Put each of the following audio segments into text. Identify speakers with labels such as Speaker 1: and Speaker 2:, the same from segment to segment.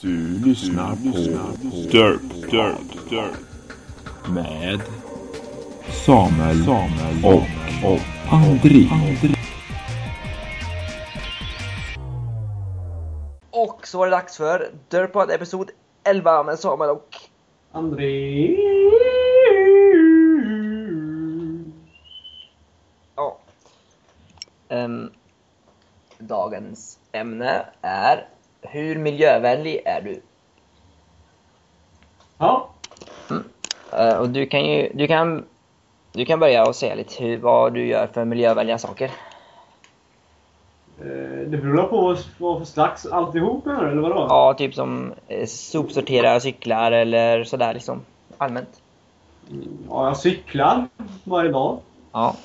Speaker 1: Du lyssnar på Dirt, Dirt, Dirt med Samuel, Samuel och, och André.
Speaker 2: Och så var det dags för Dirtpod episod 11 med Samuel och...
Speaker 3: André.
Speaker 2: Ja. Ehm, dagens ämne är Hur miljövänlig är du?
Speaker 3: Ja,
Speaker 2: Eh, och du kan ju... Du kan, du kan börja och säga lite hur, vad du gör för miljövänliga saker.
Speaker 3: eh, det beror på vad vad för slags alltihop menar du, eller vadå?
Speaker 2: Ja, typ som eh, sopsorterar cyklar eller sådär liksom. Allmänt.
Speaker 3: ja, jag cyklar varje dag.
Speaker 2: Ja.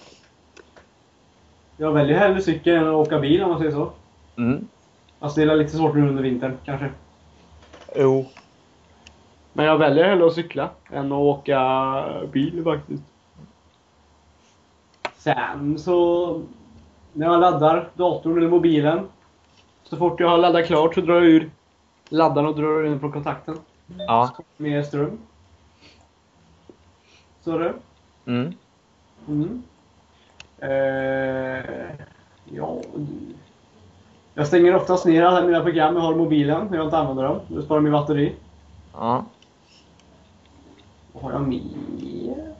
Speaker 3: Jag väljer hellre cykel än att åka bil om man säger så.
Speaker 2: Mm.
Speaker 3: Alltså det är lite svårt nu under vintern kanske.
Speaker 2: Jo.
Speaker 3: Men jag väljer hellre att cykla än att åka bil faktiskt. Sen så... När jag laddar datorn eller mobilen. Så fort jag har laddat klart så drar jag ur laddaren och drar den från kontakten.
Speaker 2: Ja.
Speaker 3: Mer ström. Så är det.
Speaker 2: Mm.
Speaker 3: Mm. Eh, ja, du. Jag stänger oftast ner alla mina program jag har i mobilen när jag inte använder dem. Det sparar min batteri.
Speaker 2: Ja.
Speaker 3: Vad har jag mer?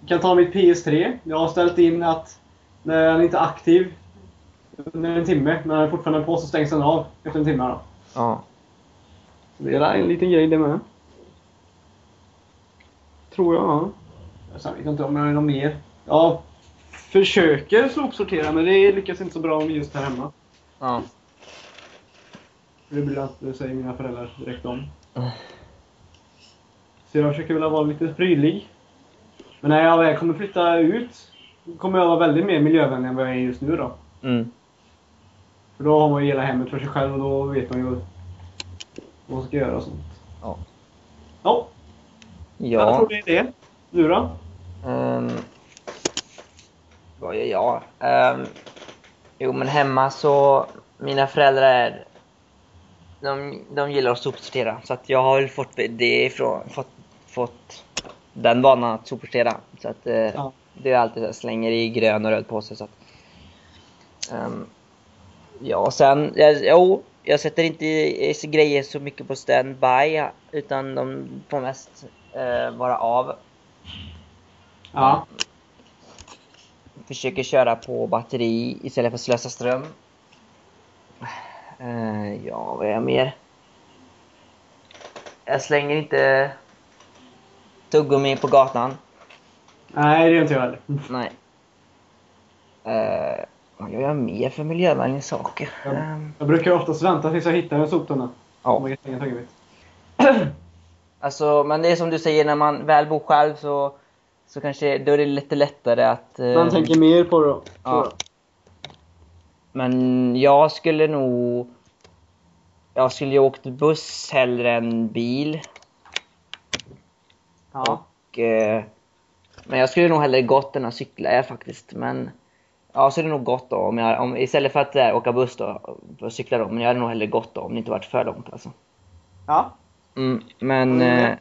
Speaker 3: Jag kan ta mitt PS3. Jag har ställt in att när den inte är aktiv under en timme, när den fortfarande är på, så stängs den av efter en timme. Då.
Speaker 2: Ja.
Speaker 3: Det är en liten grej det med. Tror jag. ja. Sen vet jag inte om jag har något mer. Jag försöker sopsortera men det lyckas inte så bra om just här hemma.
Speaker 2: Ja.
Speaker 3: Det blir att det säger mina föräldrar direkt om. Så jag försöker väl vara lite prydlig. Men när jag väl kommer flytta ut kommer jag vara väldigt mer miljövänlig än vad jag är just nu då.
Speaker 2: Mm.
Speaker 3: För då har man ju hela hemmet för sig själv och då vet man ju vad man ska göra och sånt.
Speaker 2: Ja.
Speaker 3: Ja, jag
Speaker 2: Ja.
Speaker 3: tror det är det. Du då?
Speaker 2: Ehm, vad gör jag? Ehm, jo, men hemma så... Mina föräldrar är... De, de gillar att sopsortera. Så att jag har väl fått det ifrån... Fått, fått den vanan att sopsortera. Så att eh,
Speaker 3: Ja.
Speaker 2: det är alltid så här, slänger i grön och röd påse. Så att, Ehm, ja, och sen... Jag, jo, jag sätter inte i- i- grejer så mycket på standby. Utan de får mest eh, vara av
Speaker 3: Ja.
Speaker 2: Försöker köra på batteri istället för att slösa ström. Eh, ja, vad är jag mer? Jag slänger inte tuggummi på gatan.
Speaker 3: Nej, det gör inte jag heller.
Speaker 2: Nej. Eh, vad gör jag mer för miljövänliga saker?
Speaker 3: Ja.
Speaker 2: Ehm,
Speaker 3: Jag brukar oftast vänta tills jag hittar en soptunna.
Speaker 2: Ja.
Speaker 3: Om jag kan slänga tuggummit.
Speaker 2: alltså, men det är som du säger, när man väl bor själv så, så kanske då är det lite lättare att... eh,
Speaker 3: Man tänker mer på det då.
Speaker 2: Ja. Men jag skulle nog... Jag skulle ju åkt buss hellre än bil.
Speaker 3: Ja.
Speaker 2: Och, eh, men jag skulle nog hellre gått än att cykla är faktiskt. Men ja, så är det nog gått då. Om jag, om, istället för att där, åka buss då, och cykla då. Men jag hade nog hellre gått då om det inte varit för långt alltså.
Speaker 3: ja.
Speaker 2: Mm, men...
Speaker 3: Mm.
Speaker 2: Eh,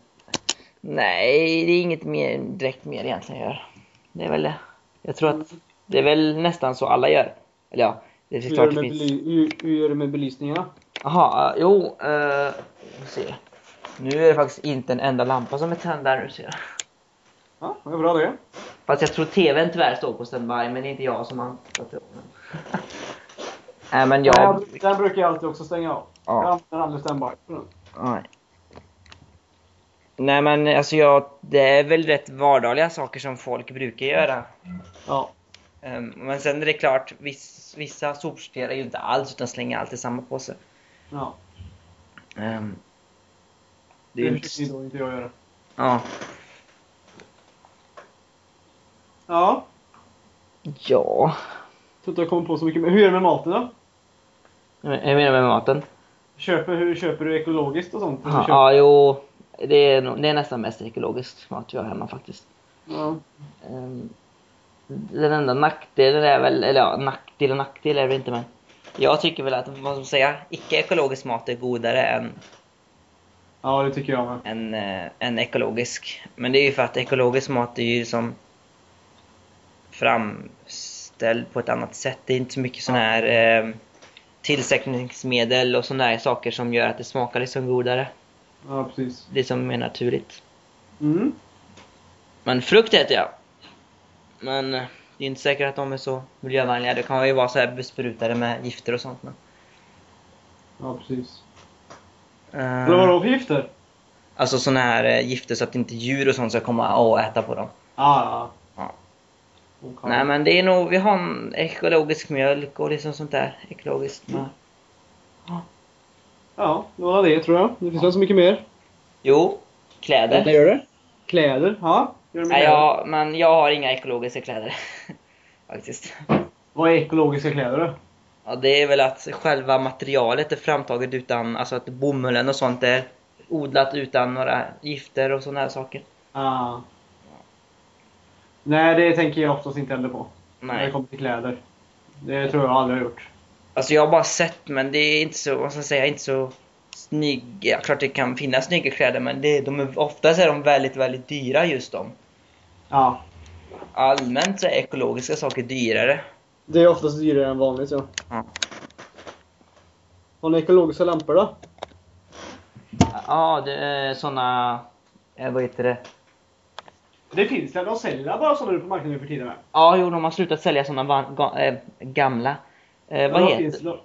Speaker 2: nej, det är inget mer, direkt mer egentligen jag gör. Det är väl det. Jag tror att det är väl nästan så alla gör. Eller ja, det är
Speaker 3: Hur gör,
Speaker 2: klart
Speaker 3: du
Speaker 2: det
Speaker 3: med
Speaker 2: finns...
Speaker 3: bely- hur, hur gör du med belysningarna?
Speaker 2: Jaha, eh, jo. Eh, vi får se. Nu är det faktiskt inte en enda lampa som är tänd där nu ser jag.
Speaker 3: Ja, det är bra det.
Speaker 2: Fast jag tror tvn tyvärr står på standby, men det är inte jag som har satt igång den. Nej men jag...
Speaker 3: Ja. Den brukar jag alltid också stänga av.
Speaker 2: Ja.
Speaker 3: Jag använder aldrig standby på den.
Speaker 2: Nej. Nej men alltså jag... Det är väl rätt vardagliga saker som folk brukar göra.
Speaker 3: Ja.
Speaker 2: Ehm, men sen är det klart, viss, vissa sopsorterar ju inte alls utan slänger allt i samma påse.
Speaker 3: ja.
Speaker 2: Ehm, det
Speaker 3: Det
Speaker 2: är ju inte...
Speaker 3: försöker ju då inte jag göra.
Speaker 2: Ja.
Speaker 3: Ja.
Speaker 2: Ja.
Speaker 3: Så att jag kommer på så mycket. Men hur gör du med maten då?
Speaker 2: Men- Jag menar med maten.
Speaker 3: Köper, hur köper du ekologiskt och sånt?
Speaker 2: Ja,
Speaker 3: Hur köper-
Speaker 2: ja jo. Det är, nog- det är nästan mest ekologiskt mat vi har hemma faktiskt.
Speaker 3: ja.
Speaker 2: Ehm, Den enda nackdelen är väl, eller ja, nackdel och nackdel är det inte men. Jag tycker väl att, vad ska man säga, icke-ekologisk mat är godare än,
Speaker 3: Ja, det tycker jag med.
Speaker 2: än, eh, än ekologisk. Men det är ju för att ekologisk mat är ju som framställd på ett annat sätt. Det är inte så mycket sån här eh, tillsättningsmedel och såna här saker som gör att det smakar liksom godare.
Speaker 3: Ja, precis.
Speaker 2: Det är som mer naturligt.
Speaker 3: Mm.
Speaker 2: Men frukt äter jag. Men eh, det är inte säkert att de är så miljövänliga. Det kan ju vara så här besprutade med gifter och sånt. Men,
Speaker 3: Ja, precis.
Speaker 2: eh,
Speaker 3: Vad var det för gifter?
Speaker 2: alltså såna här eh, gifter så att inte djur och sånt ska komma och äta på dem.
Speaker 3: Ah,
Speaker 2: Ja.
Speaker 3: Okay.
Speaker 2: Nej men det är nog, vi har en ekologisk mjölk och liksom sånt där. Ekologiskt.
Speaker 3: Mm. Ja, det var det tror jag. Det finns väl så mycket mer?
Speaker 2: Jo, kläder.
Speaker 3: gör det. Kläder, ja. Gör det med
Speaker 2: Nej,
Speaker 3: kläder.
Speaker 2: jag, men jag har inga ekologiska kläder. Faktiskt.
Speaker 3: Vad är ekologiska kläder då?
Speaker 2: Ja, det är väl att själva materialet är framtaget utan, alltså att bomullen och sånt är odlat utan några gifter och såna här saker.
Speaker 3: Ah. Nej, det tänker jag oftast inte heller på. När det
Speaker 2: Nej.
Speaker 3: kommer till kläder. Det tror jag aldrig har gjort.
Speaker 2: Alltså jag har bara sett men det är inte så, vad ska jag säga, inte så snygga. Klart det kan finnas snygga kläder men det, de är, oftast är de väldigt, väldigt dyra just de.
Speaker 3: Ja.
Speaker 2: Allmänt så är ekologiska saker dyrare.
Speaker 3: Det är oftast dyrare än vanligt ja.
Speaker 2: Ja.
Speaker 3: Har ni ekologiska lampor då?
Speaker 2: Ja, det är såna, eh, vad heter det?
Speaker 3: Det finns det. De säljer bara sådana nu på marknaden nu för tiden.
Speaker 2: Ja, jo de har slutat sälja såna van, ga, eh, gamla. Eh, vad heter
Speaker 3: Finns det?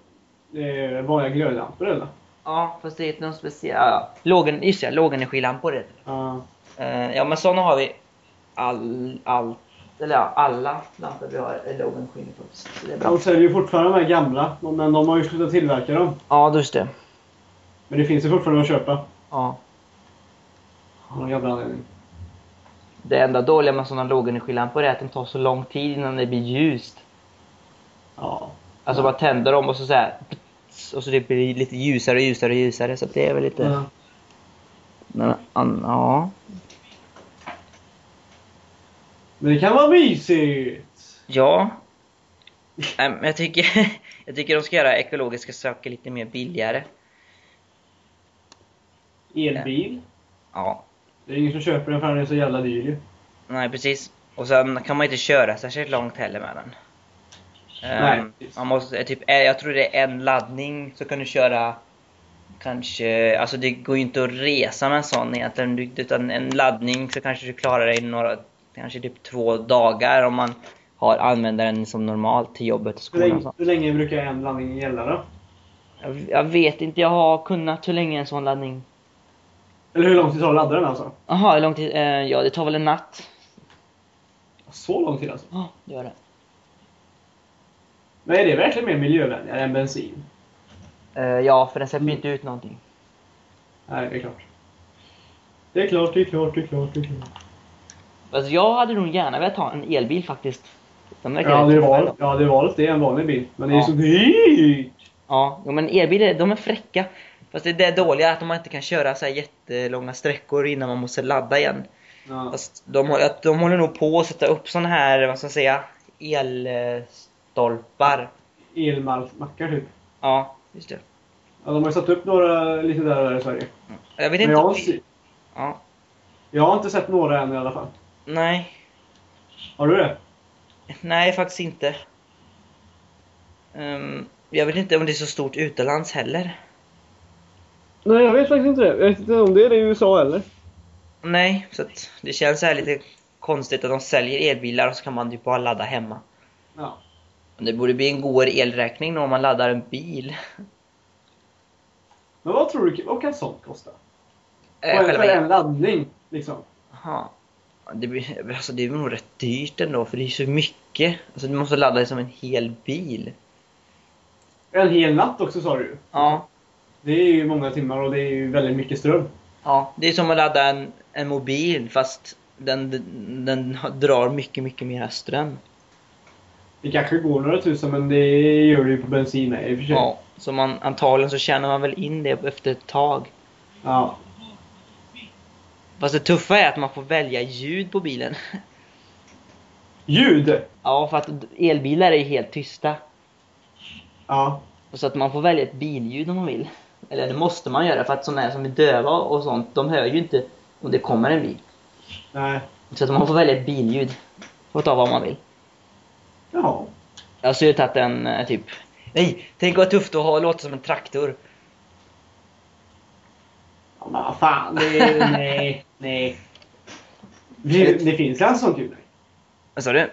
Speaker 3: Det är vanliga glödlampor eller?
Speaker 2: Ja, fast det är något speciellt. Ja, lågen, just det, lågenergilampor heter det.
Speaker 3: Ja.
Speaker 2: Eh, Ja, men såna har vi all, all, eller ja, alla lampor vi har är lågenergi. Så det är bra.
Speaker 3: De säljer ju fortfarande de här gamla, men de har ju slutat tillverka dem.
Speaker 2: Ja, just det.
Speaker 3: Men det finns ju fortfarande att köpa.
Speaker 2: Ja.
Speaker 3: Av någon jävla anledning.
Speaker 2: Det enda dåliga med såna lågenergilampor är att det tar så lång tid innan det blir ljust.
Speaker 3: Ja.
Speaker 2: Alltså man tänder dem och så, så här, och så det blir lite ljusare och ljusare och ljusare. Så att det är väl lite...
Speaker 3: Ja.
Speaker 2: Men, an, ja.
Speaker 3: Men det kan vara mysigt!
Speaker 2: Ja. Nej, men jag tycker, jag tycker de ska göra ekologiska saker lite mer billigare.
Speaker 3: Elbil.
Speaker 2: Ja,
Speaker 3: Det är ingen som köper den för den är så jävla dyr ju.
Speaker 2: nej precis. Och sen kan man inte köra särskilt långt heller med den.
Speaker 3: Nej,
Speaker 2: Ehm,
Speaker 3: precis.
Speaker 2: man måste, typ, eh, jag tror det är en laddning så kan du köra kanske, alltså det går ju inte att resa med en sån egentligen. Du- Utan en laddning så kanske du klarar dig några, kanske typ två dagar om man har använder den som normalt till jobbet och
Speaker 3: Hur
Speaker 2: skolan och
Speaker 3: länge,
Speaker 2: sånt.
Speaker 3: hur länge brukar en blandning gälla då?
Speaker 2: Jag, jag vet inte, jag har kunnat hur länge en sån laddning
Speaker 3: Eller hur lång tid tar det att ladda den alltså?
Speaker 2: Jaha, hur lång tid? Eh, ja, det tar väl en natt.
Speaker 3: Så lång tid alltså?
Speaker 2: Ja, det gör det.
Speaker 3: Men är det verkligen mer miljövänligare än bensin?
Speaker 2: Eh, ja, för den släpper
Speaker 3: Mm.
Speaker 2: ju inte ut någonting.
Speaker 3: Nej, det är klart. Det är klart, det är klart, det är klart, det är klart.
Speaker 2: Alltså, jag hade nog gärna velat ha en elbil faktiskt. De verkar
Speaker 3: Ja,
Speaker 2: rätt
Speaker 3: det är
Speaker 2: coola
Speaker 3: valet.
Speaker 2: ändå.
Speaker 3: Ja, det är valet. Det är en vanlig bil. Men det är ju
Speaker 2: Ja.
Speaker 3: så dyrt!
Speaker 2: Ja, jo, men elbilar, de är fräcka. Fast det, det är dåliga att de inte kan köra så här jättelånga sträckor innan man måste ladda igen.
Speaker 3: Ja.
Speaker 2: Fast de, har- att de håller nog på att sätta upp såna här, vad ska jag säga, elstolpar.
Speaker 3: Elmackar typ.
Speaker 2: Ja, just det.
Speaker 3: Ja, de har ju satt upp några lite där och där i Sverige.
Speaker 2: Jag vet
Speaker 3: Men
Speaker 2: inte...
Speaker 3: jag har,
Speaker 2: om- Ja,
Speaker 3: jag har inte sett några än i alla fall.
Speaker 2: nej.
Speaker 3: Har du det?
Speaker 2: Nej, faktiskt inte. Ehm, jag vet inte om det är så stort utomlands heller.
Speaker 3: Nej, jag vet faktiskt inte det. Jag vet inte om det är det i USA heller.
Speaker 2: Nej, så att det känns så här lite konstigt att de säljer elbilar och så kan man ju bara ladda hemma.
Speaker 3: Ja.
Speaker 2: Men Det borde bli en godare elräkning då om man laddar en bil.
Speaker 3: Men vad tror du, vad kan sånt kosta?
Speaker 2: Eh,
Speaker 3: Vad är det
Speaker 2: själva
Speaker 3: för en
Speaker 2: el-
Speaker 3: laddning, liksom?
Speaker 2: Jaha. Det, blir, alltså det är nog rätt dyrt ändå för det är ju så mycket. Alltså du måste ladda det som en hel bil.
Speaker 3: En hel natt också sa du ju.
Speaker 2: Ja.
Speaker 3: Det är ju många timmar och det är ju väldigt mycket ström.
Speaker 2: ja. Det är som att ladda en, en mobil fast den, den drar mycket, mycket mer
Speaker 3: Mm.
Speaker 2: ström.
Speaker 3: Det kanske går några tusen men det gör det ju på bensin med i och för sig.
Speaker 2: Ja, så man, antagligen så tjänar man väl in det efter ett tag.
Speaker 3: Ja.
Speaker 2: Fast det tuffa är att man får välja ljud på bilen.
Speaker 3: Ljud!
Speaker 2: Ja, för att elbilar är ju helt tysta.
Speaker 3: Ja.
Speaker 2: Så att man får välja ett billjud om man vill. Eller det måste man göra för att sådana som är döva och sånt, de hör ju inte om det kommer en bil.
Speaker 3: Nej.
Speaker 2: Så att man får välja ett billjud. Får ta vad man vill.
Speaker 3: Jaha.
Speaker 2: Jag har ju tagit en eh, typ... Nej! Tänk vad tufft att ha låta som en traktor.
Speaker 3: Ja, men vad fan. Det, nej. Nej. Det, det finns ju inte sånt ljud. nej.
Speaker 2: Vad sa du?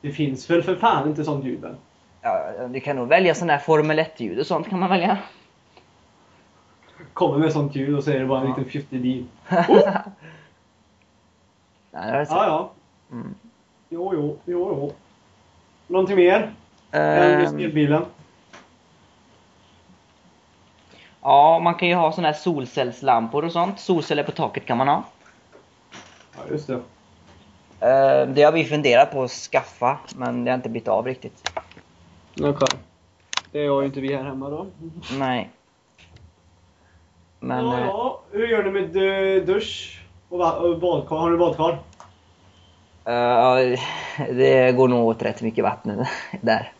Speaker 3: Det finns väl för fan inte sånt ljud än.
Speaker 2: Ja, du kan nog välja sån här Formel 1-ljud och sånt kan man välja.
Speaker 3: Kommer med sånt ljud och så är det bara en liten fjuttig bil.
Speaker 2: Oh! Ja, det har jag sett.
Speaker 3: Ja, ja.
Speaker 2: Mm.
Speaker 3: Jo, jo, jo, jo. Någonting mer?
Speaker 2: Ehm,
Speaker 3: Än just elbilen?
Speaker 2: ja, man kan ju ha såna här solcellslampor och sånt. Solceller på taket kan man ha.
Speaker 3: Ja, just det.
Speaker 2: Eh, Det har vi funderat på att skaffa, men det har inte blivit av riktigt.
Speaker 3: Okej. Det har ju inte vi här hemma då.
Speaker 2: Nej. Men...
Speaker 3: ja,
Speaker 2: eh,
Speaker 3: ja. Hur gör ni med eh, dusch och, va- och badkar? Har ni badkar?
Speaker 2: eh, det går nog åt rätt mycket vatten där.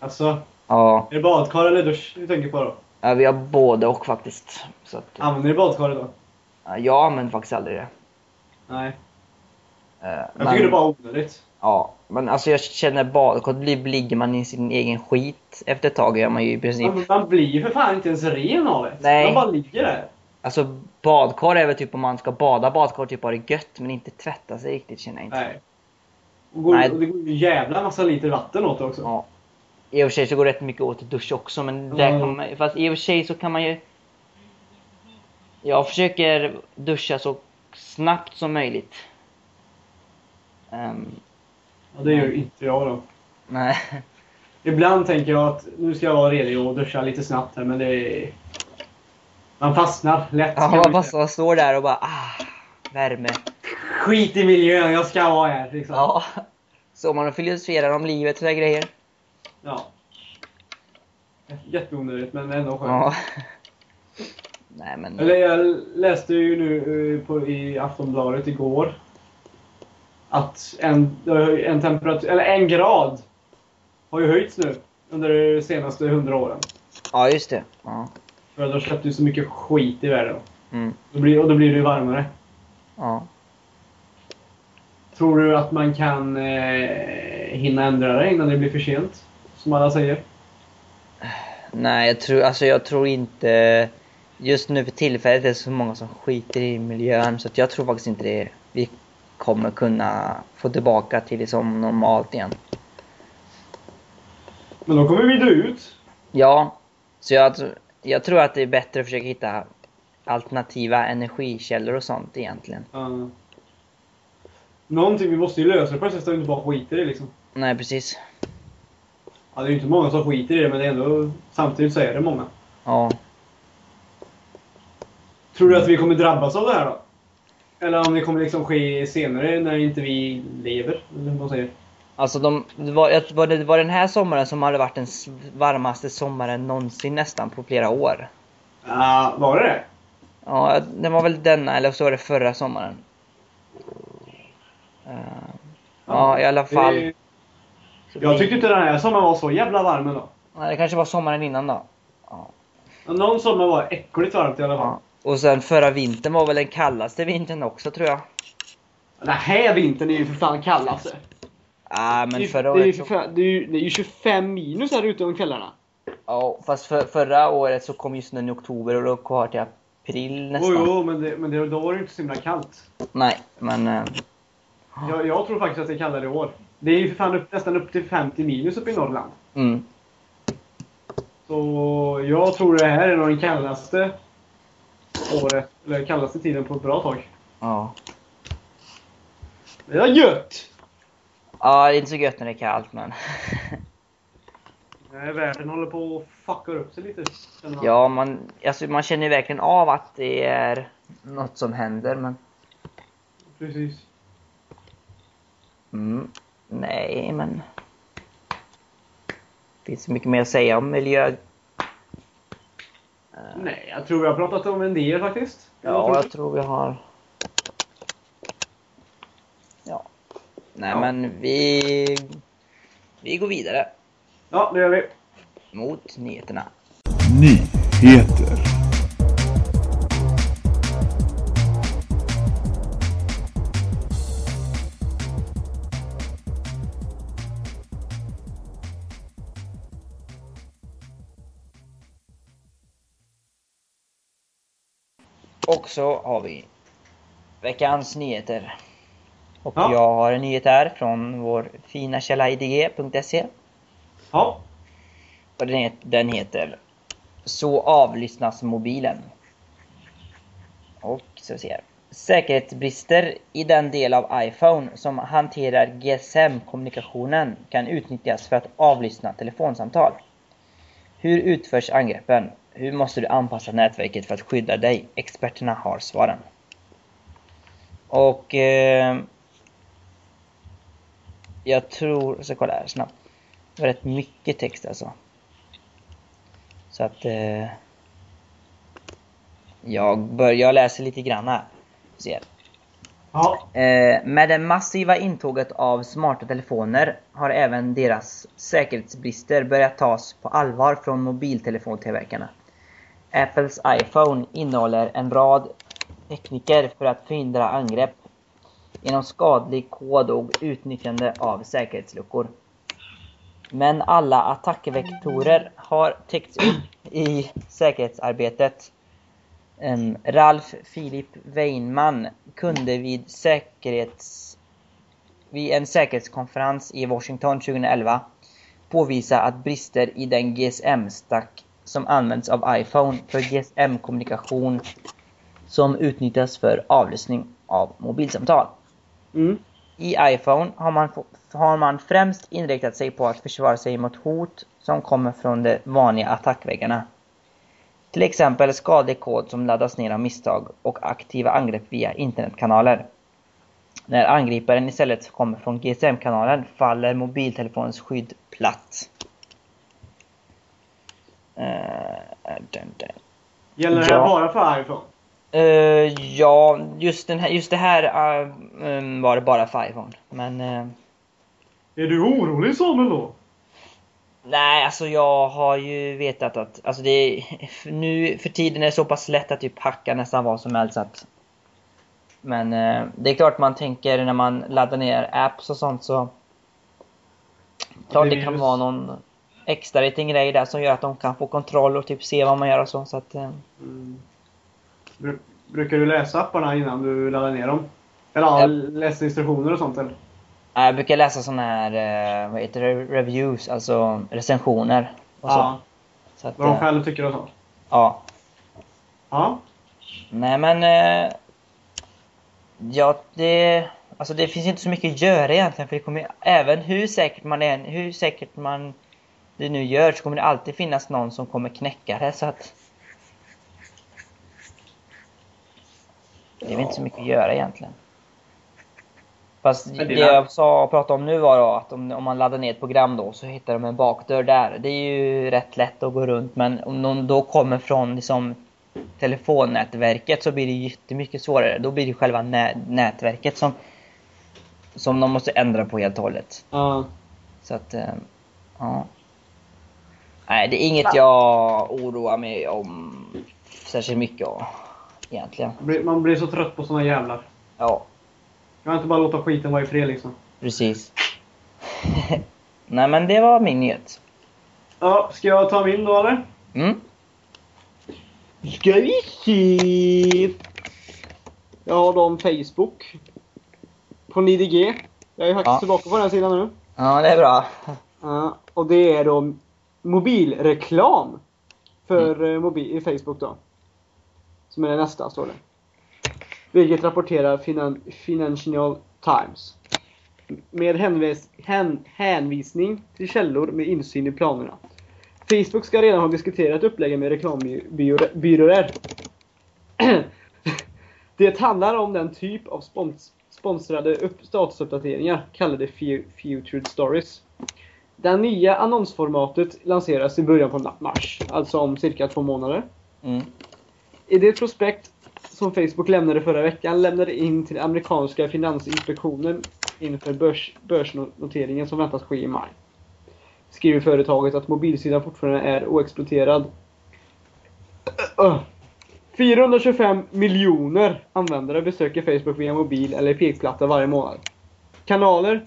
Speaker 3: Alltså,
Speaker 2: Ja,
Speaker 3: är det badkar eller dusch du tänker på då?
Speaker 2: ja, vi har både och faktiskt. Så att, eh,
Speaker 3: Använder ni badkar idag?
Speaker 2: ja, jag använder faktiskt aldrig det.
Speaker 3: Nej.
Speaker 2: Eh,
Speaker 3: Jag tycker det är bara onödigt.
Speaker 2: Ja, men alltså jag känner badkar, då ligger man i sin egen skit efter ett tag gör man ju i princip.
Speaker 3: Man, man blir ju för fan inte ens ren av det.
Speaker 2: Nej.
Speaker 3: Man bara ligger där.
Speaker 2: Alltså badkar är väl typ om man ska bada badkar, typ ha det gött men inte tvätta sig riktigt känner jag inte.
Speaker 3: Nej. Och, går,
Speaker 2: Nej.
Speaker 3: och det går ju en jävla massa liter vatten åt det också.
Speaker 2: Ja. I och för sig så går det rätt mycket åt att duscha också men där
Speaker 3: Mm.
Speaker 2: kan man, fast i och för sig så kan man ju Jag försöker duscha så snabbt som möjligt. Ehm,
Speaker 3: Ja, det gör ju inte jag då.
Speaker 2: nej.
Speaker 3: Ibland tänker jag att nu ska jag vara redig och duscha lite snabbt här men det är... Man fastnar lätt. kan
Speaker 2: Ja, man
Speaker 3: man
Speaker 2: bara
Speaker 3: säga.
Speaker 2: så- står där och bara ah, värme.
Speaker 3: Skit i miljön, jag ska vara här. Liksom.
Speaker 2: Ja. Så man filosoferar om livet och sådana grejer.
Speaker 3: Ja. Jätteonödigt men ändå skönt.
Speaker 2: Ja. Nej men...
Speaker 3: Eller jag läste ju nu eh, på, i Aftonbladet igår att en, eh, en temperatur, eller en grad har ju höjts nu under de senaste hundra åren.
Speaker 2: Ja just det. Ja.
Speaker 3: För att de släppte ju så mycket skit i världen.
Speaker 2: Mm.
Speaker 3: Då blir, och då blir det ju varmare.
Speaker 2: Ja.
Speaker 3: Tror du att man kan eh, hinna ändra det innan det blir för sent? Som alla säger.
Speaker 2: Nej jag tror, alltså jag tror inte... Just nu för tillfället är det så många som skiter i miljön så att jag tror faktiskt inte det. Vi kommer kunna få tillbaka till det som normalt igen.
Speaker 3: Men då kommer vi dö ut.
Speaker 2: Ja. Så jag, tr- jag tror att det är bättre att försöka hitta alternativa energikällor och sånt egentligen.
Speaker 3: Uh, någonting vi måste ju lösa på det sättet att vi inte bara skiter i det, liksom.
Speaker 2: Nej precis.
Speaker 3: Ja, det är ju inte många som skiter i det men det är ändå, samtidigt så är det många.
Speaker 2: Ja.
Speaker 3: Tror du att vi kommer drabbas av det här då? Eller om det kommer liksom ske senare när inte vi lever? Eller hur man säger.
Speaker 2: Alltså de, det, var, jag- var det det var den här sommaren som hade varit den s- varmaste sommaren någonsin nästan på flera år.
Speaker 3: Ja, var det det?
Speaker 2: Ja, det var väl denna eller så var det förra sommaren. Eh, ja, i alla fall.
Speaker 3: Det- Jag tyckte inte den här sommaren var så jävla varm ändå.
Speaker 2: Nej, det kanske var sommaren innan då. Ja.
Speaker 3: Men Någon sommar var äckligt varmt i alla fall.
Speaker 2: Ja. Och sen förra vintern var väl den kallaste vintern också tror jag.
Speaker 3: Den här vintern är ju för fan kall alltså.
Speaker 2: Ja,
Speaker 3: Det är
Speaker 2: Ah, men
Speaker 3: ju-
Speaker 2: förra
Speaker 3: det är ju
Speaker 2: året...
Speaker 3: för
Speaker 2: Så,
Speaker 3: fan- det är ju- det är ju 25 minus här ute om kvällarna.
Speaker 2: ja, fast för, förra året så kom ju snön i oktober och då kvar till april
Speaker 3: Jo,
Speaker 2: nästan.
Speaker 3: jo, men, det, men det, då var det ju inte så himla kallt.
Speaker 2: Nej, men... eh,
Speaker 3: Jag, jag tror faktiskt att det är kallare i år. Det är ju för fan upp, nästan upp till 50 minus uppe i Norrland.
Speaker 2: mm.
Speaker 3: Så jag tror det här är nog den kallaste året, eller kallaste tiden på ett bra tag.
Speaker 2: Ja.
Speaker 3: Det är gött!
Speaker 2: Ja, det är inte så gött när det är kallt men...
Speaker 3: Nej, världen håller på att fucka upp sig lite. känner man.
Speaker 2: Ja, man, alltså, man känner ju verkligen av att det är något som händer men...
Speaker 3: Precis.
Speaker 2: Mm. Nej, men... Det finns så mycket mer att säga om miljö.
Speaker 3: Nej, jag tror vi har pratat om en del faktiskt.
Speaker 2: Ja, jag tror vi har... Ja. Nej,
Speaker 3: Ja.
Speaker 2: men vi... Vi går vidare.
Speaker 3: ja, det gör vi.
Speaker 2: mot nyheterna.
Speaker 1: Nyheter.
Speaker 2: Och så har vi veckans nyheter. Och
Speaker 3: Ja.
Speaker 2: jag har en nyhet här från vår fina källa idg.se.
Speaker 3: Ja.
Speaker 2: Och den, het- den heter Så avlyssnas mobilen. Och så vi se här. Säkerhetsbrister i den del av iPhone som hanterar GSM-kommunikationen kan utnyttjas för att avlyssna telefonsamtal. Hur utförs angreppen? Hur måste du anpassa nätverket för att skydda dig? Experterna har svaren. Och... Eh, jag tror... Så kolla här snabbt. Det var rätt mycket text alltså. Så att... Eh, jag börjar läsa lite grann här. Så här.
Speaker 3: Ja.
Speaker 2: Eh, med det massiva intåget av smarta telefoner har även deras säkerhetsbrister börjat tas på allvar från mobiltelefontillverkarna. Apples iPhone innehåller en rad tekniker för att förhindra angrepp genom skadlig kod och utnyttjande av säkerhetsluckor. Men alla attackvektorer har täckts upp i säkerhetsarbetet Em, Ehm, Ralf Filip Weinman kunde vid, säkerhets, vid en säkerhetskonferens i Washington 2011 påvisa att brister i den GSM-stack som används av iPhone för GSM-kommunikation som utnyttjas för avlyssning av mobilsamtal.
Speaker 3: Mm.
Speaker 2: I iPhone har man, få- har man främst inriktat sig på att försvara sig mot hot som kommer från de vanliga attackväggarna. Till exempel skadlig kod som laddas ner av misstag och aktiva angrepp via internetkanaler. När angriparen istället kommer från GSM-kanalen faller mobiltelefonens skydd platt. Eh, dun, dun.
Speaker 3: Gäller det här
Speaker 2: Ja.
Speaker 3: bara för iPhone?
Speaker 2: Eh, ja, just, den här, just det här eh, mm, var det bara för iPhone. Men eh,
Speaker 3: Är du orolig Samuel då?
Speaker 2: Nej, alltså jag har ju vetat att, alltså det är, nu för tiden är det så pass lätt att typ hacka nästan vad som helst så att, Men eh, det är klart man tänker när man laddar ner apps och sånt så Klart det kan
Speaker 3: virus.
Speaker 2: vara någon extra liten grej där som gör att de kan få kontroll och typ se vad man gör och så, så att eh,
Speaker 3: Mm. Bru- Brukar du läsa apparna innan du laddar ner dem? Eller ja.
Speaker 2: Ja.
Speaker 3: läsa instruktioner och sånt eller?
Speaker 2: nej, Jag brukar läsa såna här, eh, vad heter det, reviews, alltså recensioner och så,
Speaker 3: Ja.
Speaker 2: så att,
Speaker 3: Vad de
Speaker 2: eh,
Speaker 3: själva tycker och sånt?
Speaker 2: ja.
Speaker 3: Ja.
Speaker 2: Nej men... Eh, ja, det... Alltså det finns inte så mycket att göra egentligen för det kommer ju- även hur säkert man är, hur säkert man det nu gör så kommer det alltid finnas någon som kommer knäcka det så att... Det är väl inte så mycket att göra egentligen. Fast
Speaker 3: Men det
Speaker 2: det
Speaker 3: är-
Speaker 2: jag sa och pratade om nu var då att om, om man laddar ner ett program då så hittar de en bakdörr där. Det är ju rätt lätt att gå runt men om någon då kommer från liksom telefonnätverket så blir det jättemycket svårare. Då blir det själva nä- nätverket som, som de måste ändra på helt och hållet.
Speaker 3: Ja.
Speaker 2: Så att, eh, ja. Nej, det är inget jag oroar mig om särskilt mycket om, egentligen.
Speaker 3: Blir- Man blir så trött på såna jävlar.
Speaker 2: Ja,
Speaker 3: Kan man inte bara låta skiten vara i fred liksom?
Speaker 2: precis. Nej, men det var min nyhet.
Speaker 3: Ja, ska jag ta min då eller?
Speaker 2: Mm.
Speaker 3: Ska vi se. Jag har dem Facebook. På NIDG. Jag är faktiskt
Speaker 2: Ja.
Speaker 3: tillbaka på den sidan nu.
Speaker 2: Ja, det är bra.
Speaker 3: Ja, och det är då mobilreklam för eh, mobil, i Facebook då. Som är det nästa, står det. Vilket rapporterar finan, Financial Times. Med hänvis, hän, hänvisning till källor med insyn i planerna. Facebook ska redan ha diskuterat uppläggen med reklambyråer. Det handlar om den typ av spons, sponsrade upp, statusuppdateringar, kallade fu- Featured Stories. Det nya annonsformatet lanseras i början på mars, alltså om cirka två månader.
Speaker 2: Mm.
Speaker 3: I det prospekt som Facebook lämnade förra veckan lämnade in till amerikanska finansinspektionen inför börs, börsnoteringen som väntas ske i maj. skriver företaget att mobilsidan fortfarande är oexploaterad. Öh. 425 miljoner användare besöker Facebook via mobil eller pekplatta varje månad. Kanaler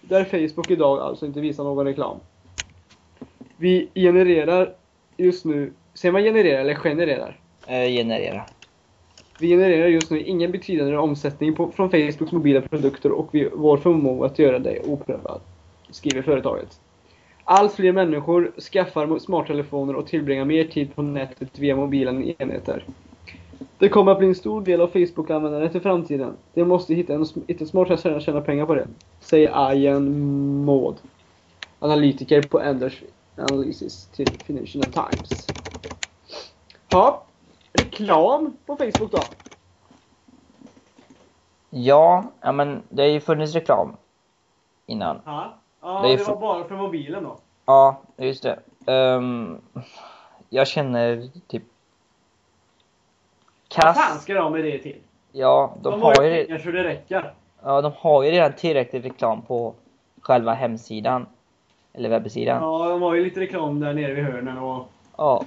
Speaker 3: där Facebook idag alltså inte visar någon reklam. Vi genererar just nu, säger man genererar eller genererar?
Speaker 2: Eh, generera.
Speaker 3: Vi genererar just nu ingen betydande omsättning på, från Facebooks mobila produkter och vi, vår förmåga att göra det är oprövad, skriver företaget. Allt fler människor skaffar mo- smarttelefoner och tillbringar mer tid på nätet via mobilen enheter. Det kommer att bli en stor del av Facebook-användandet i framtiden. De måste hitta, en, sm- hitta ett smart sätt att tjäna pengar på det, säger Ian Maud, analytiker på Enders Analysis till Financial Times. Ja, reklam på Facebook då.
Speaker 2: Ja, ja men det har ju funnits reklam innan.
Speaker 3: Ja, ja
Speaker 2: Det är
Speaker 3: det,
Speaker 2: för-
Speaker 3: var bara för mobilen då.
Speaker 2: Ja, just det. Ehm, jag känner typ...
Speaker 3: Vad fan
Speaker 2: Kass.
Speaker 3: ska de med det till?
Speaker 2: Ja,
Speaker 3: De,
Speaker 2: de
Speaker 3: har ju
Speaker 2: re-
Speaker 3: pengar så det räcker.
Speaker 2: Ja, de har ju redan tillräckligt reklam på själva hemsidan. Eller webbsidan. Ja.
Speaker 3: Ja, de har ju lite reklam där nere vid hörnen och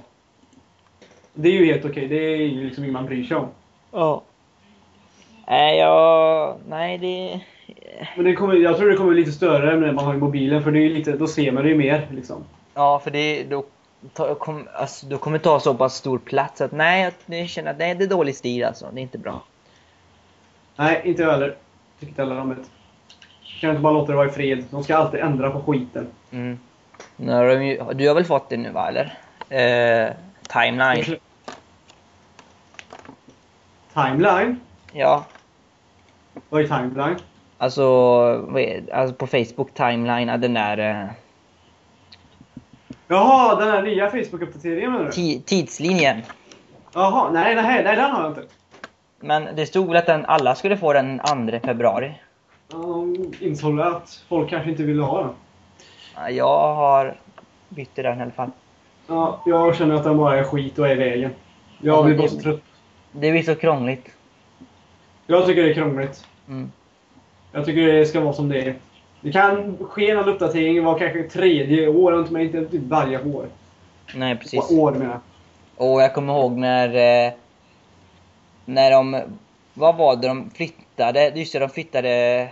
Speaker 3: det är ju helt okej. Det är ju liksom inget man bryr sig om.
Speaker 2: Ja. Nej, jag... Nej, det...
Speaker 3: Men det kommer, jag tror det kommer bli lite större när man har i mobilen för det är ju lite, då ser man det ju mer. Liksom.
Speaker 2: Ja, för det... Då, ta, kom, alltså, då kommer det ta så pass stor plats att nej, jag- jag känner att nej, det är dålig stil alltså. Det är inte bra.
Speaker 3: Nej, inte jag heller. Tycker inte heller om det. Kan inte bara låta det vara i fred. De ska alltid ändra på skiten.
Speaker 2: Mm. Nu har de ju, du har väl fått det nu va, eller? Eh, timeline.
Speaker 3: Timeline?
Speaker 2: Ja.
Speaker 3: Vad är timeline?
Speaker 2: Alltså, vad är, alltså på Facebook timeline, ja, den där eh,
Speaker 3: Jaha, den här nya Facebook-uppdateringen menar du?
Speaker 2: ti, tidslinjen.
Speaker 3: Jaha, nej, nej, nej den har jag inte.
Speaker 2: Men det stod väl att den, alla skulle få den 2 februari.
Speaker 3: Ja, De insåg att folk kanske inte ville ha den.
Speaker 2: Ja, Jag har bytt den i alla fall.
Speaker 3: Ja, jag känner att den bara är skit och är i vägen. Jag blir bara så trött.
Speaker 2: Det blir så krångligt.
Speaker 3: Jag tycker det är krångligt.
Speaker 2: Mm.
Speaker 3: Jag tycker det ska vara som det är. Det kan ske någon uppdatering var kanske tredje år, men inte typ varje år.
Speaker 2: Nej, precis.
Speaker 3: År menar jag.
Speaker 2: Och jag kommer ihåg när... eh, När de... Vad var det de flyttade? Just det, de flyttade...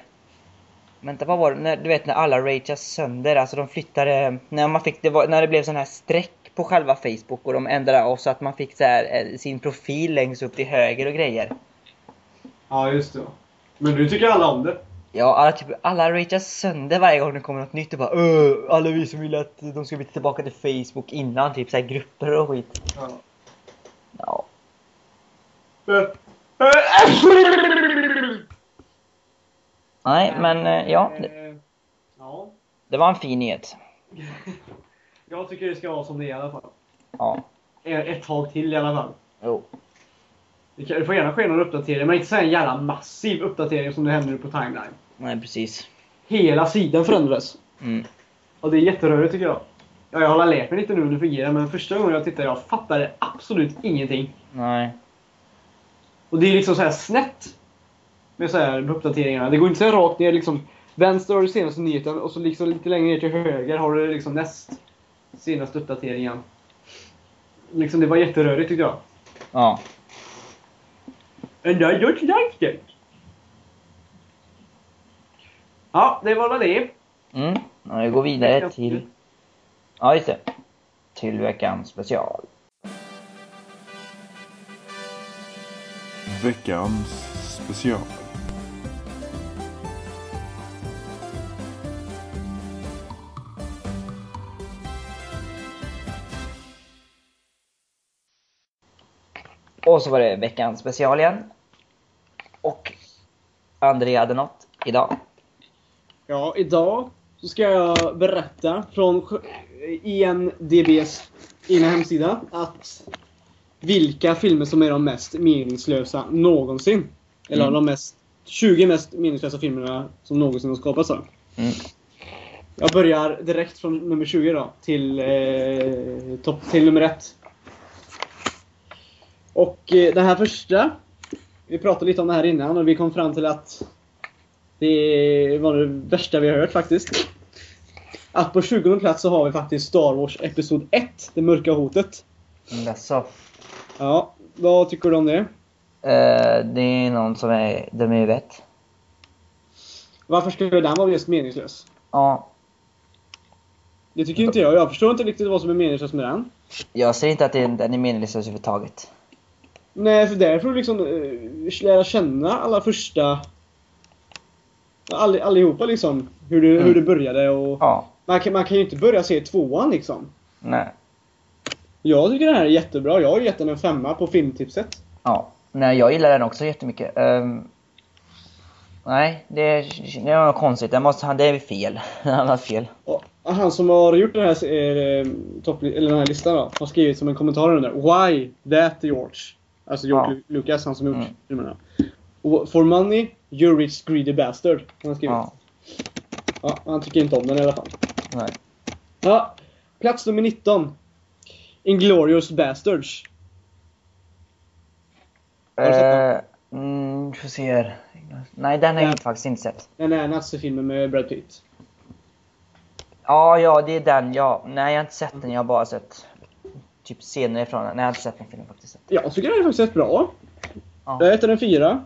Speaker 2: Vänta, vad var det? När, du vet när alla rageas sönder. Alltså de flyttade... När, man fick, det var, när det blev sån här streck på själva Facebook och de ändrade oss så att man fick så här, eh, sin profil längst upp till höger och grejer.
Speaker 3: Ja, just det. Men nu tycker alla om det.
Speaker 2: Ja, alla, typ, alla ragear sönder varje gång det kommer något nytt och bara "Öh, alla vi som ville att de skulle bli tillbaka till Facebook innan, typ såhär grupper och skit.
Speaker 3: Ja.
Speaker 2: Ja. Nej, men eh, ja, det,
Speaker 3: Eh, Ja.
Speaker 2: det var en fin nyhet.
Speaker 3: Jag tycker det ska vara som det är i alla fall. Eh,
Speaker 2: Ja,
Speaker 3: Ett tag till i alla fall.
Speaker 2: jo.
Speaker 3: Det kan- det får gärna ske någon uppdatering, men inte så här en jävla massiv uppdatering som det händer nu på Timeline.
Speaker 2: Nej, precis.
Speaker 3: Hela sidan förändras.
Speaker 2: Mm.
Speaker 3: Och det är jätterörigt tycker jag. Ja, jag har lärt mig lite nu hur det fungerar, men första gången jag tittade jag fattade absolut ingenting.
Speaker 2: Nej.
Speaker 3: Och det är liksom så här snett med så här med uppdateringarna. Det går inte så här rakt ner liksom. Vänster har du senaste nyheten och så liksom lite längre ner till höger har du liksom näst senaste uppdateringen. Liksom det var jätterörigt tyckte jag.
Speaker 2: Ja.
Speaker 3: And I don't like it. Ja, det var väl det.
Speaker 2: Mm. Ja, vi går vidare till... Ja, just det. Till veckans special.
Speaker 1: Veckans special.
Speaker 2: Och så var det veckans special igen. Och André hade något idag.
Speaker 3: Ja, idag så ska jag berätta från sj- INDBs egna hemsida att vilka filmer som är de mest meningslösa någonsin. Eller
Speaker 2: Mm.
Speaker 3: de mest 20 mest meningslösa filmerna som någonsin har skapats. då.
Speaker 2: Mm.
Speaker 3: Jag börjar direkt från nummer 20 då till, eh, topp, till nummer 1. Och eh, den här första, vi pratade lite om det här innan och vi kom fram till att det var det värsta vi har hört faktiskt. Att på 20 plats så har vi faktiskt Star Wars Episod 1, Det Mörka Hotet.
Speaker 2: Jaså?
Speaker 3: Ja, vad tycker du om det?
Speaker 2: Eh, det är någon som är, de är vett.
Speaker 3: Varför skulle den vara just meningslös?
Speaker 2: Ja.
Speaker 3: Det tycker inte jag. Jag förstår inte riktigt vad som är meningslöst med den.
Speaker 2: Jag ser inte att det- den är meningslös överhuvudtaget.
Speaker 3: Nej, för där får du liksom eh, lära känna alla första... All, allihopa liksom. Hur du,
Speaker 2: Mm.
Speaker 3: hur du började och...
Speaker 2: Ja.
Speaker 3: Man, kan, man kan ju inte börja se tvåan liksom.
Speaker 2: Nej.
Speaker 3: Jag tycker den här är jättebra. Jag har ju gett den en femma på filmtipset.
Speaker 2: Ja. Nej, jag gillar den också jättemycket. Um, nej, det är, det är något konstigt. Den måste, han- det är fel. Han har fel.
Speaker 3: Och han som har gjort den här, eh, topp, eller den här listan då, har skrivit som en kommentar under Why that George? Alltså George
Speaker 2: Ja.
Speaker 3: Lu- Lucas, han som har gjort
Speaker 2: Mm.
Speaker 3: filmerna. Och For money, you rich greedy bastard. har Han, skrivit.
Speaker 2: Ja.
Speaker 3: Ja, han tycker inte om den i alla fall.
Speaker 2: Nej.
Speaker 3: Ja, plats nummer 19. Inglorious Bastards. Har du sett
Speaker 2: Eh, mm, får se här. Nej, den har jag
Speaker 3: Ja.
Speaker 2: inte- faktiskt inte sett.
Speaker 3: Den här nazifilmen med Brad Pitt.
Speaker 2: Ja, ja, det är den. Ja. Nej, jag har inte sett den. Jag har bara sett typ scener ifrån den. Nej, jag har inte sett den filmen faktiskt.
Speaker 3: Jag tycker den är faktiskt rätt bra.
Speaker 2: Ja.
Speaker 3: Jag heter den 4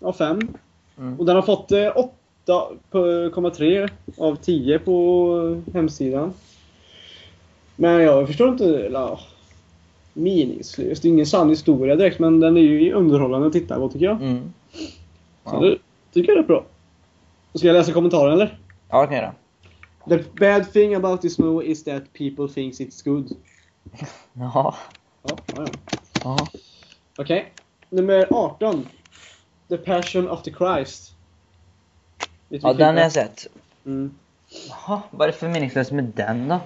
Speaker 3: av 5.
Speaker 2: Mm.
Speaker 3: Och den har fått eh, 8,3 av 10 på eh, hemsidan. Men jag förstår inte... Eller, ja, meningslöst. Det är ingen sann historia direkt men den är ju underhållande att titta på tycker jag.
Speaker 2: Mm.
Speaker 3: Så
Speaker 2: Ja.
Speaker 3: det tycker jag är rätt bra. Ska jag läsa kommentaren eller?
Speaker 2: Ja, det kan jag göra.
Speaker 3: The bad thing about this movie is that people thinks it's good.
Speaker 2: Ja.
Speaker 3: Ja, ja, ja.
Speaker 2: ja.
Speaker 3: Okej. Nummer 18. The Passion of the Christ. Vet du
Speaker 2: Ja,
Speaker 3: vilken
Speaker 2: den har
Speaker 3: det
Speaker 2: jag sett.
Speaker 3: Mm.
Speaker 2: Jaha, vad är det för meningslöst med den då?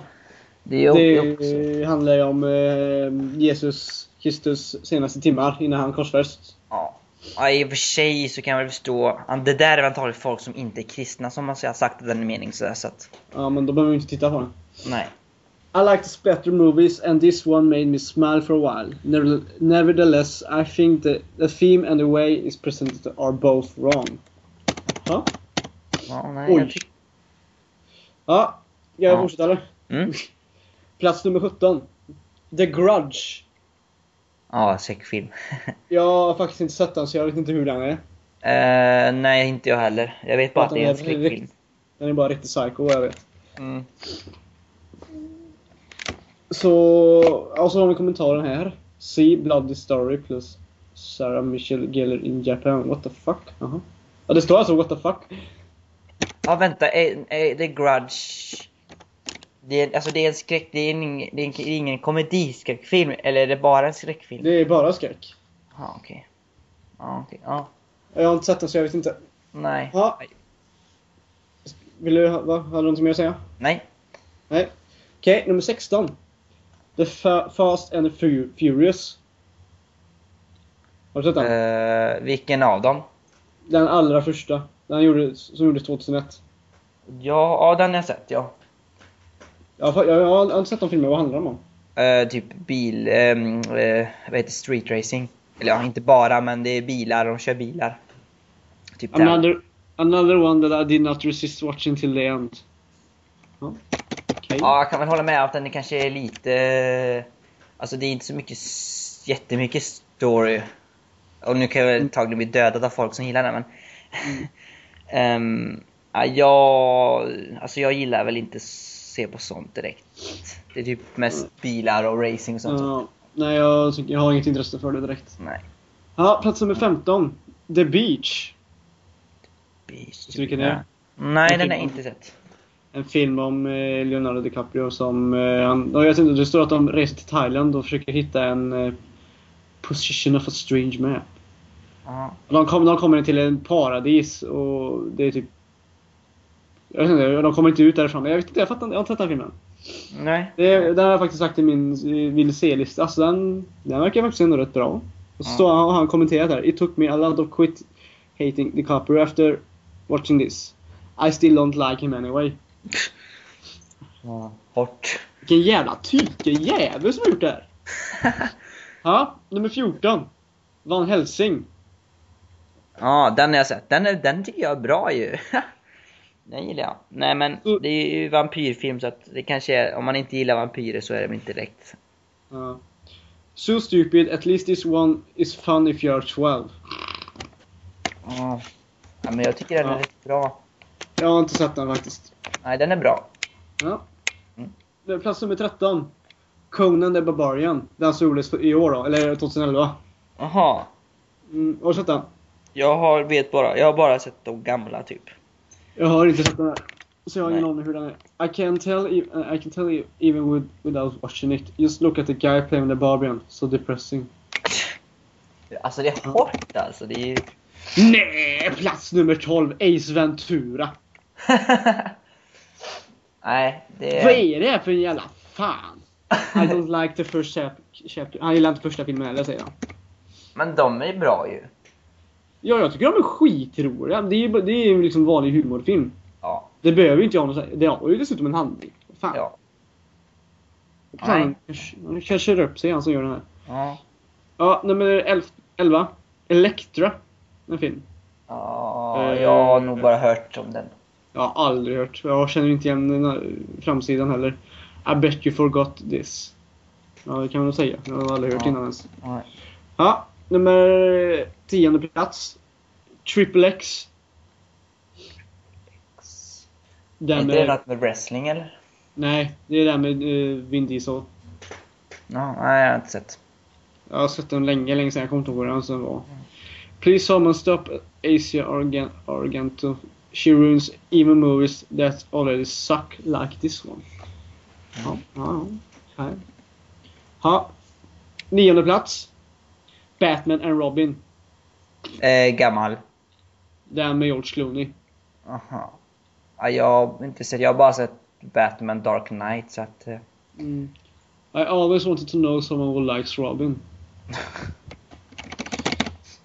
Speaker 2: Det är ju också...
Speaker 3: Det handlar ju om eh, Jesus Kristus senaste timmar innan han korsfästs.
Speaker 2: Ja. ja, i och för sig så kan jag väl förstå. Ja, Det där är väl antagligen folk som inte är kristna som har sagt att den är meningslös. Så att,
Speaker 3: Ja, men då behöver vi inte titta på den.
Speaker 2: nej.
Speaker 3: I like the splatter movies and this one made me smile for a while. Never- Nevertheless, I think the, the theme and the way it's presented are both wrong. Ja,
Speaker 2: Ja, nej jag
Speaker 3: Oj.
Speaker 2: tyck-
Speaker 3: ja jag
Speaker 2: Ja.
Speaker 3: fortsätter eller?
Speaker 2: mm.
Speaker 3: Plats nummer 17. The Grudge.
Speaker 2: Ja, säker film.
Speaker 3: Jag har faktiskt inte sett den så jag vet inte hur den är.
Speaker 2: Eh, nej, inte jag heller. Jag vet bara att
Speaker 3: Utan
Speaker 2: det är en
Speaker 3: det är
Speaker 2: skräckfilm.
Speaker 3: riktigt- Den är bara riktigt psycho jag vet.
Speaker 2: Mm.
Speaker 3: Så, och så har vi kommentaren här. See Bloody Story plus Sarah Michelle Gellar in Japan. What the fuck? Jaha. Ja det står alltså what the fuck.
Speaker 2: Ja, vänta. Är, är det Grudge? Det är, alltså det är en skräck, det är, en, det är en, det är ingen komediskräckfilm, eller är det bara en skräckfilm?
Speaker 3: Det är bara skräck.
Speaker 2: Ja, okej. Ja, okej. Ja,
Speaker 3: Jag har inte sett den så jag vet inte.
Speaker 2: nej.
Speaker 3: Ja. Vill du, ha- va? Har du något mer att säga?
Speaker 2: Nej.
Speaker 3: Nej. Okej, nummer 16. The Fa- Fast and the Fu- Furious. Har du sett den?
Speaker 2: Eh, vilken av dem?
Speaker 3: Den allra första. Den gjorde, som gjordes 2001.
Speaker 2: Ja, ja den har jag sett, ja.
Speaker 3: Jag har, jag har jag har inte sett de filmerna, vad handlar de om?
Speaker 2: Eh, typ bil, ehm, eh, vad heter det? street racing. Eller ja, inte bara, men det är bilar, de kör bilar. Typ den.
Speaker 3: Another, another one that I did not resist watching till the end. Ja. Okej.
Speaker 2: Ja, jag kan väl hålla med att den kanske är lite... Alltså det är inte så mycket, s- jättemycket story. Och nu kan jag
Speaker 3: Mm.
Speaker 2: väl antagligen bli dödad av folk som gillar den men... Ehm, ja, jag... Alltså jag gillar väl inte se på sånt direkt. Det är typ mest bilar och racing och sånt.
Speaker 3: Ja, nej, jag, tycker- jag har inget intresse för det direkt.
Speaker 2: Nej.
Speaker 3: Ja, plats nummer 15. The Beach.
Speaker 2: Beach,
Speaker 3: Så vilken är det?
Speaker 2: Nej,
Speaker 3: Vilken
Speaker 2: den har jag
Speaker 3: film?
Speaker 2: inte sett.
Speaker 3: En film om eh, Leonardo DiCaprio som... eh, Han, jag vet inte, det står att de reser till Thailand och försöker hitta en... eh, Position of a strange map.
Speaker 2: Ja.
Speaker 3: De, kom, de kommer till en paradis och det är typ... Jag vet inte, de kommer inte ut därifrån. Jag vet inte, jag fattar inte. Jag har inte sett den filmen.
Speaker 2: Nej.
Speaker 3: Det, den har jag faktiskt sagt i min eh, vill se-lista. Alltså den, den verkar faktiskt ändå rätt bra. Och så står han- har han kommenterat här. It took me a lot of quit hating the copper after watching this. I still don't like him anyway.
Speaker 2: Ja. Hårt.
Speaker 3: Vilken jävla tyke-jävel som har gjort det här! Ja, nummer 14. Van Helsing.
Speaker 2: Ja, den har jag sett. Den, är, den tycker jag är bra ju. Den gillar jag. Nej men det är ju vampyrfilm så att det kanske är, om man inte gillar vampyrer så är det väl inte direkt.
Speaker 3: Ja. So stupid, at least this one is fun if you're 12.
Speaker 2: Ja. Ja, men jag tycker den är
Speaker 3: Ja.
Speaker 2: rätt bra.
Speaker 3: Jag har inte sett den faktiskt.
Speaker 2: Nej den är bra.
Speaker 3: Ja.
Speaker 2: Mm.
Speaker 3: Det är Plats nummer 13. Conan the Barbarian. Den som gjordes för- i år då, eller 2011.
Speaker 2: Jaha.
Speaker 3: Mm, har du sett den?
Speaker 2: Jag har, vet bara, jag har bara sett de gamla typ.
Speaker 3: Jag har inte sett den här. Så jag har ingen
Speaker 2: Nej.
Speaker 3: aning hur den är. I can tell, e- I can tell you even with, without watching it. Just look at the guy playing the Barbarian. So depressing.
Speaker 2: Alltså det är hårt alltså. Det är ju...
Speaker 3: Nej, plats nummer 12. Ace Ventura.
Speaker 2: Nej, det
Speaker 3: Vad
Speaker 2: är...
Speaker 3: är det här för en jävla fan? I don't like the first chap- chapter. Han gillar inte första filmen heller säger han.
Speaker 2: Men de är bra ju.
Speaker 3: Ja, jag tycker de är skitroliga. Det är ju bara- det är ju liksom vanlig humorfilm.
Speaker 2: Ja.
Speaker 3: Det behöver ju inte jag någon säga. Det har ju dessutom en handling. Fan.
Speaker 2: Ja.
Speaker 3: Fan, han kanske upp sig han som gör den här.
Speaker 2: Ja.
Speaker 3: Ja, nummer 11. Elektra. En film.
Speaker 2: Ja,
Speaker 3: Eh,
Speaker 2: jag har nog bara hört om den.
Speaker 3: Jag har aldrig hört. Jag känner inte igen den här framsidan heller. I bet you forgot this. Ja, det kan man nog säga. Jag har aldrig hört
Speaker 2: Ja.
Speaker 3: innan ens.
Speaker 2: Nej.
Speaker 3: Ja, nummer tionde plats. Triple X.
Speaker 2: Är
Speaker 3: Den
Speaker 2: inte det
Speaker 3: med,
Speaker 2: något med wrestling eller?
Speaker 3: nej, det är den med uh, Vin Diesel.
Speaker 2: Ja, nej, jag har inte sett.
Speaker 3: Jag har sett den länge, länge sedan. Jag kommer inte ihåg hur den sen var. Please someone stop Asia Argan- Argento. She ruins even movies that already suck like this one. Ja, ja, ja. Okej. Ja. Nionde plats. Batman and Robin.
Speaker 2: Eh, gammal.
Speaker 3: Den med George Clooney.
Speaker 2: Aha. Ja, jag har inte sett, jag har bara sett Batman Dark Knight så att... eh,
Speaker 3: Mm. I always wanted to know someone who likes Robin.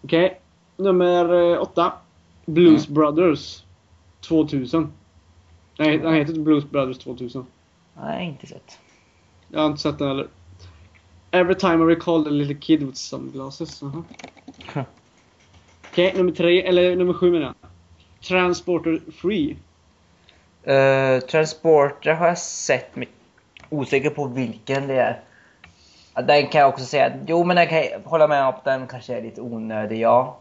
Speaker 3: Okej, nummer eh, åtta. Blues Brothers 2000. Nej, den heter inte Blues Brothers 2000.
Speaker 2: Nej, inte sett.
Speaker 3: Jag har inte sett den heller. Every time I recall a little kid with sunglasses. Jaha. Okej, nummer tre, eller nummer sju menar jag. Transporter Free.
Speaker 2: Eh, Transporter har jag sett, men osäker på vilken det är. Ja, Den kan jag också säga, jo men den kan jag hålla med om, den kanske är lite onödig, ja.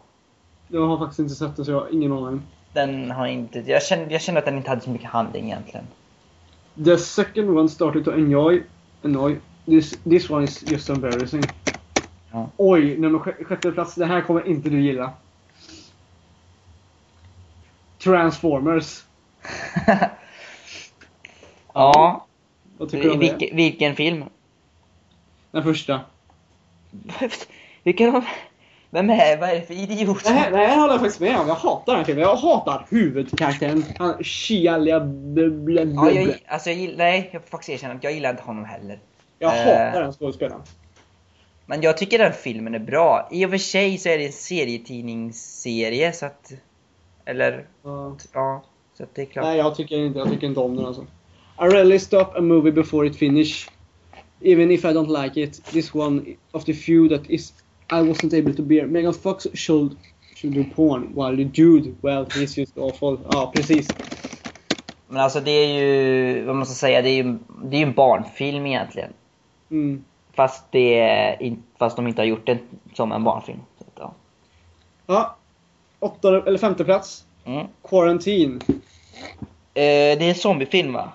Speaker 3: Jag har faktiskt inte sett den så jag har ingen aning.
Speaker 2: Den har inte, jag kände, jag kände att den inte hade så mycket handling egentligen.
Speaker 3: The second one started to annoy, annoy. This, this one is just embarrassing.
Speaker 2: Ja.
Speaker 3: Oj, nummer sj- sjätte plats. Det här kommer inte du gilla. Transformers.
Speaker 2: ja,
Speaker 3: Vad tycker du om det?
Speaker 2: vilken, vilken film?
Speaker 3: Den första.
Speaker 2: Vilken av... Vem är, vad är det för idiot?
Speaker 3: Det här, det här håller jag faktiskt med om. Jag hatar den här filmen. Jag hatar huvudkaraktären. Han Shia...
Speaker 2: Ja,
Speaker 3: Ja,
Speaker 2: jag, alltså jag gillar, nej, jag får faktiskt erkänna att jag gillar inte honom heller.
Speaker 3: jag
Speaker 2: eh.
Speaker 3: hatar den skådespelaren.
Speaker 2: Men jag tycker den filmen är bra. I och för sig så är det en serietidningsserie så att... Eller,
Speaker 3: Ja.
Speaker 2: ja. Så att det är klart.
Speaker 3: Nej, jag tycker inte, jag tycker inte om den alltså. I rarely stop a movie before it finish. Even if I don't like it. This one of the few that is I wasn't able to bear. Megan Fox should, should do porn while the dude, well he's just awful. Ja, precis.
Speaker 2: Men alltså det är ju, vad man ska säga, det är ju, det är ju en barnfilm egentligen.
Speaker 3: Mm.
Speaker 2: Fast det är, in- fast de inte har gjort den som en barnfilm. Så att, ja.
Speaker 3: Ja. Åttonde, eller femte plats.
Speaker 2: mm.
Speaker 3: Quarantine.
Speaker 2: eh, det är en zombiefilm va?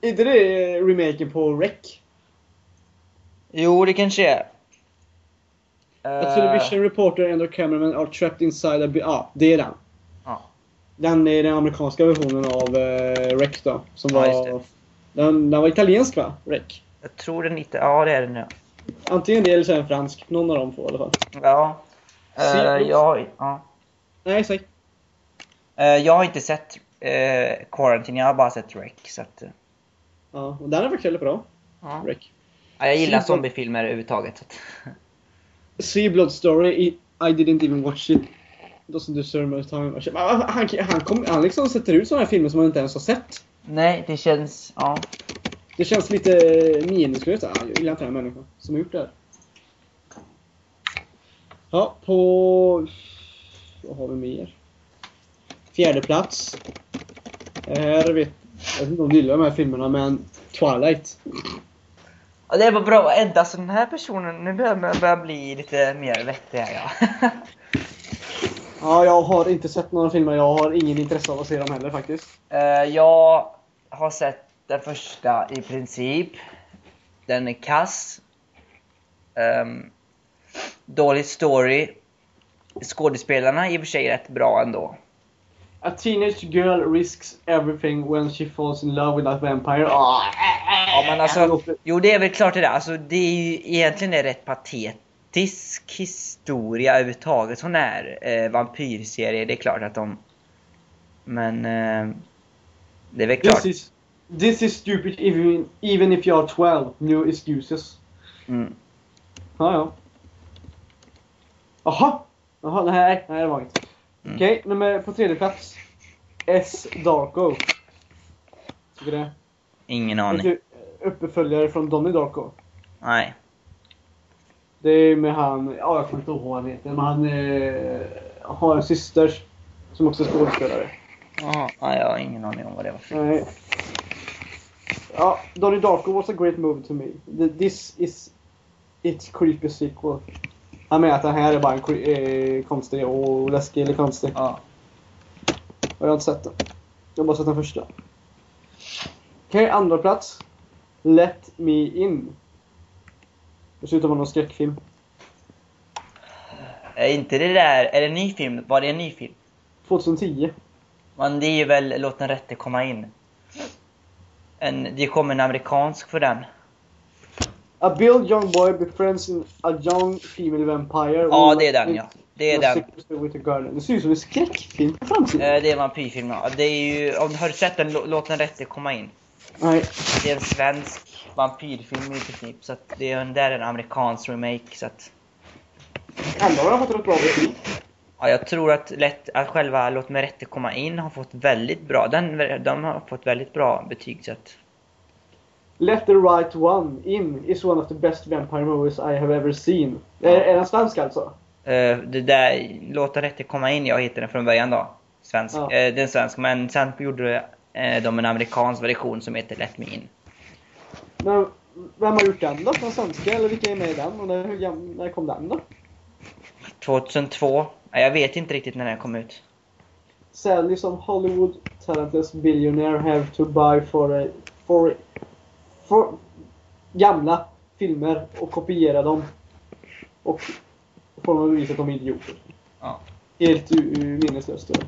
Speaker 3: Är inte det eh, remaken på Rec?
Speaker 2: Jo, det kanske är.
Speaker 3: A
Speaker 2: Eh,
Speaker 3: television reporter and her cameraman are trapped inside a... bi- Ja, det är den.
Speaker 2: Ja.
Speaker 3: Den är den amerikanska versionen av eh, Rec då. Som
Speaker 2: Ja,
Speaker 3: var,
Speaker 2: just det.
Speaker 3: den, den var italiensk va? Rec.
Speaker 2: Jag tror den inte, ja det är den ja.
Speaker 3: Antingen det eller så är den fransk. Någon av dem får i alla fall.
Speaker 2: Ja. Eh,
Speaker 3: Cirkus.
Speaker 2: jag, har- ja.
Speaker 3: Nej, säg.
Speaker 2: Eh, jag har inte sett eh, Quarantine, jag har bara sett Rec. Så att, eh,
Speaker 3: Ja, och den är faktiskt väldigt bra.
Speaker 2: ja.
Speaker 3: Rec.
Speaker 2: Ja, jag gillar
Speaker 3: Cirkus.
Speaker 2: zombiefilmer överhuvudtaget. Så att,
Speaker 3: See Blood Story. I, I didn't even watch it. Doesn't deserve my time. Jag känner- ah, Han, han, kom, han liksom sätter ut såna här filmer som man inte ens har sett.
Speaker 2: nej, det känns, ja.
Speaker 3: Det känns lite meningslöst. Ah, jag gillar inte den här människan som har gjort det här. Ja, på... Vad har vi mer? Fjärde plats. Här vet, jag vet inte om du gillar de här filmerna, men Twilight.
Speaker 2: Ja, det var bra. Edda, alltså den här personen, nu börjar man börjar bli lite mer vettig här ja.
Speaker 3: Ja, jag har inte sett några filmer. Jag har ingen intresse av att se dem heller faktiskt.
Speaker 2: Eh, jag har sett den första i princip. Den är kass. Ehm, dålig story. Skådespelarna är i och för sig rätt bra ändå.
Speaker 3: A teenage girl risks everything when she falls in love with a vampire. Ah.
Speaker 2: Ja, men alltså, jo, det är väl klart det där. Alltså, det är ju egentligen en rätt patetisk historia överhuvudtaget. Sån här eh, vampyrserie, det är klart att de... Men... Eh, det är väl klart.
Speaker 3: This is, this is stupid even, even if you are 12. No excuses.
Speaker 2: Mm.
Speaker 3: Ja, ja. Jaha! Jaha, nej, nej det var inget.
Speaker 2: Mm.
Speaker 3: Okej, nummer på tredje plats. S. Darko. Tycker det?
Speaker 2: Ingen
Speaker 3: är
Speaker 2: aning.
Speaker 3: typ Uppföljare från Donnie Darko.
Speaker 2: Nej.
Speaker 3: Det är med han, ja jag kommer inte ihåg vad han heter, men han eh, har en syster som också är skådespelare.
Speaker 2: Jaha, ja, jag har ingen aning om vad det var för...
Speaker 3: Nej. Ja, Donnie Darko was a great movie to me. Th- This is its creepy sequel. Han menar att den här är bara en cre- eh, konstig och läskig eller konstig.
Speaker 2: Ja.
Speaker 3: Jag har inte sett den. Jag har bara sett den första. Okej, andra plats. Let Me In. Dessutom var någon skräckfilm.
Speaker 2: Är inte det där... Är det en ny film? Var det en ny film?
Speaker 3: 2010.
Speaker 2: Men det är ju väl Låt den rätte komma in. En, det kom en amerikansk för den.
Speaker 3: A build young boy befriends in a young female vampire.
Speaker 2: Ja, det är den ja. Det är den.
Speaker 3: With a garden. Det ser ut som en skräckfilm på framsidan.
Speaker 2: Eh, Det är en vampyrfilm ja. Det är ju... om- Har du sett den? Lå- Låt den rätte komma in.
Speaker 3: Nej.
Speaker 2: Det är en svensk vampyrfilm i princip. Så att det är en, där är en amerikansk remake. Så att...
Speaker 3: Ändå har den fått ett bra betyg.
Speaker 2: Ja, jag tror att, lätt, att själva Låt mig rätte komma in har fått väldigt bra... Den, de har fått väldigt bra betyg så att...
Speaker 3: Let the right one in is one of the best vampire movies I have ever seen. Är, är den svensk alltså?
Speaker 2: Eh, det där, låt den rätte komma in, jag hittade den från början då. Svensk.
Speaker 3: Ja.
Speaker 2: Ja. det är en svensk, men sen gjorde eh, de en amerikansk version som heter Let Me In.
Speaker 3: Men vem har gjort den då? Den svenska? Eller vilka är med i den? Och när, hur gam- när kom den då?
Speaker 2: 2002. Ja, jag vet inte riktigt när den kom ut.
Speaker 3: Sadly some Hollywood talentless billionaire have to buy for a, for, for gamla filmer och kopiera dem. Och får man bevisa att de är idioter.
Speaker 2: Ja.
Speaker 3: Helt u- u- minneslöst. då.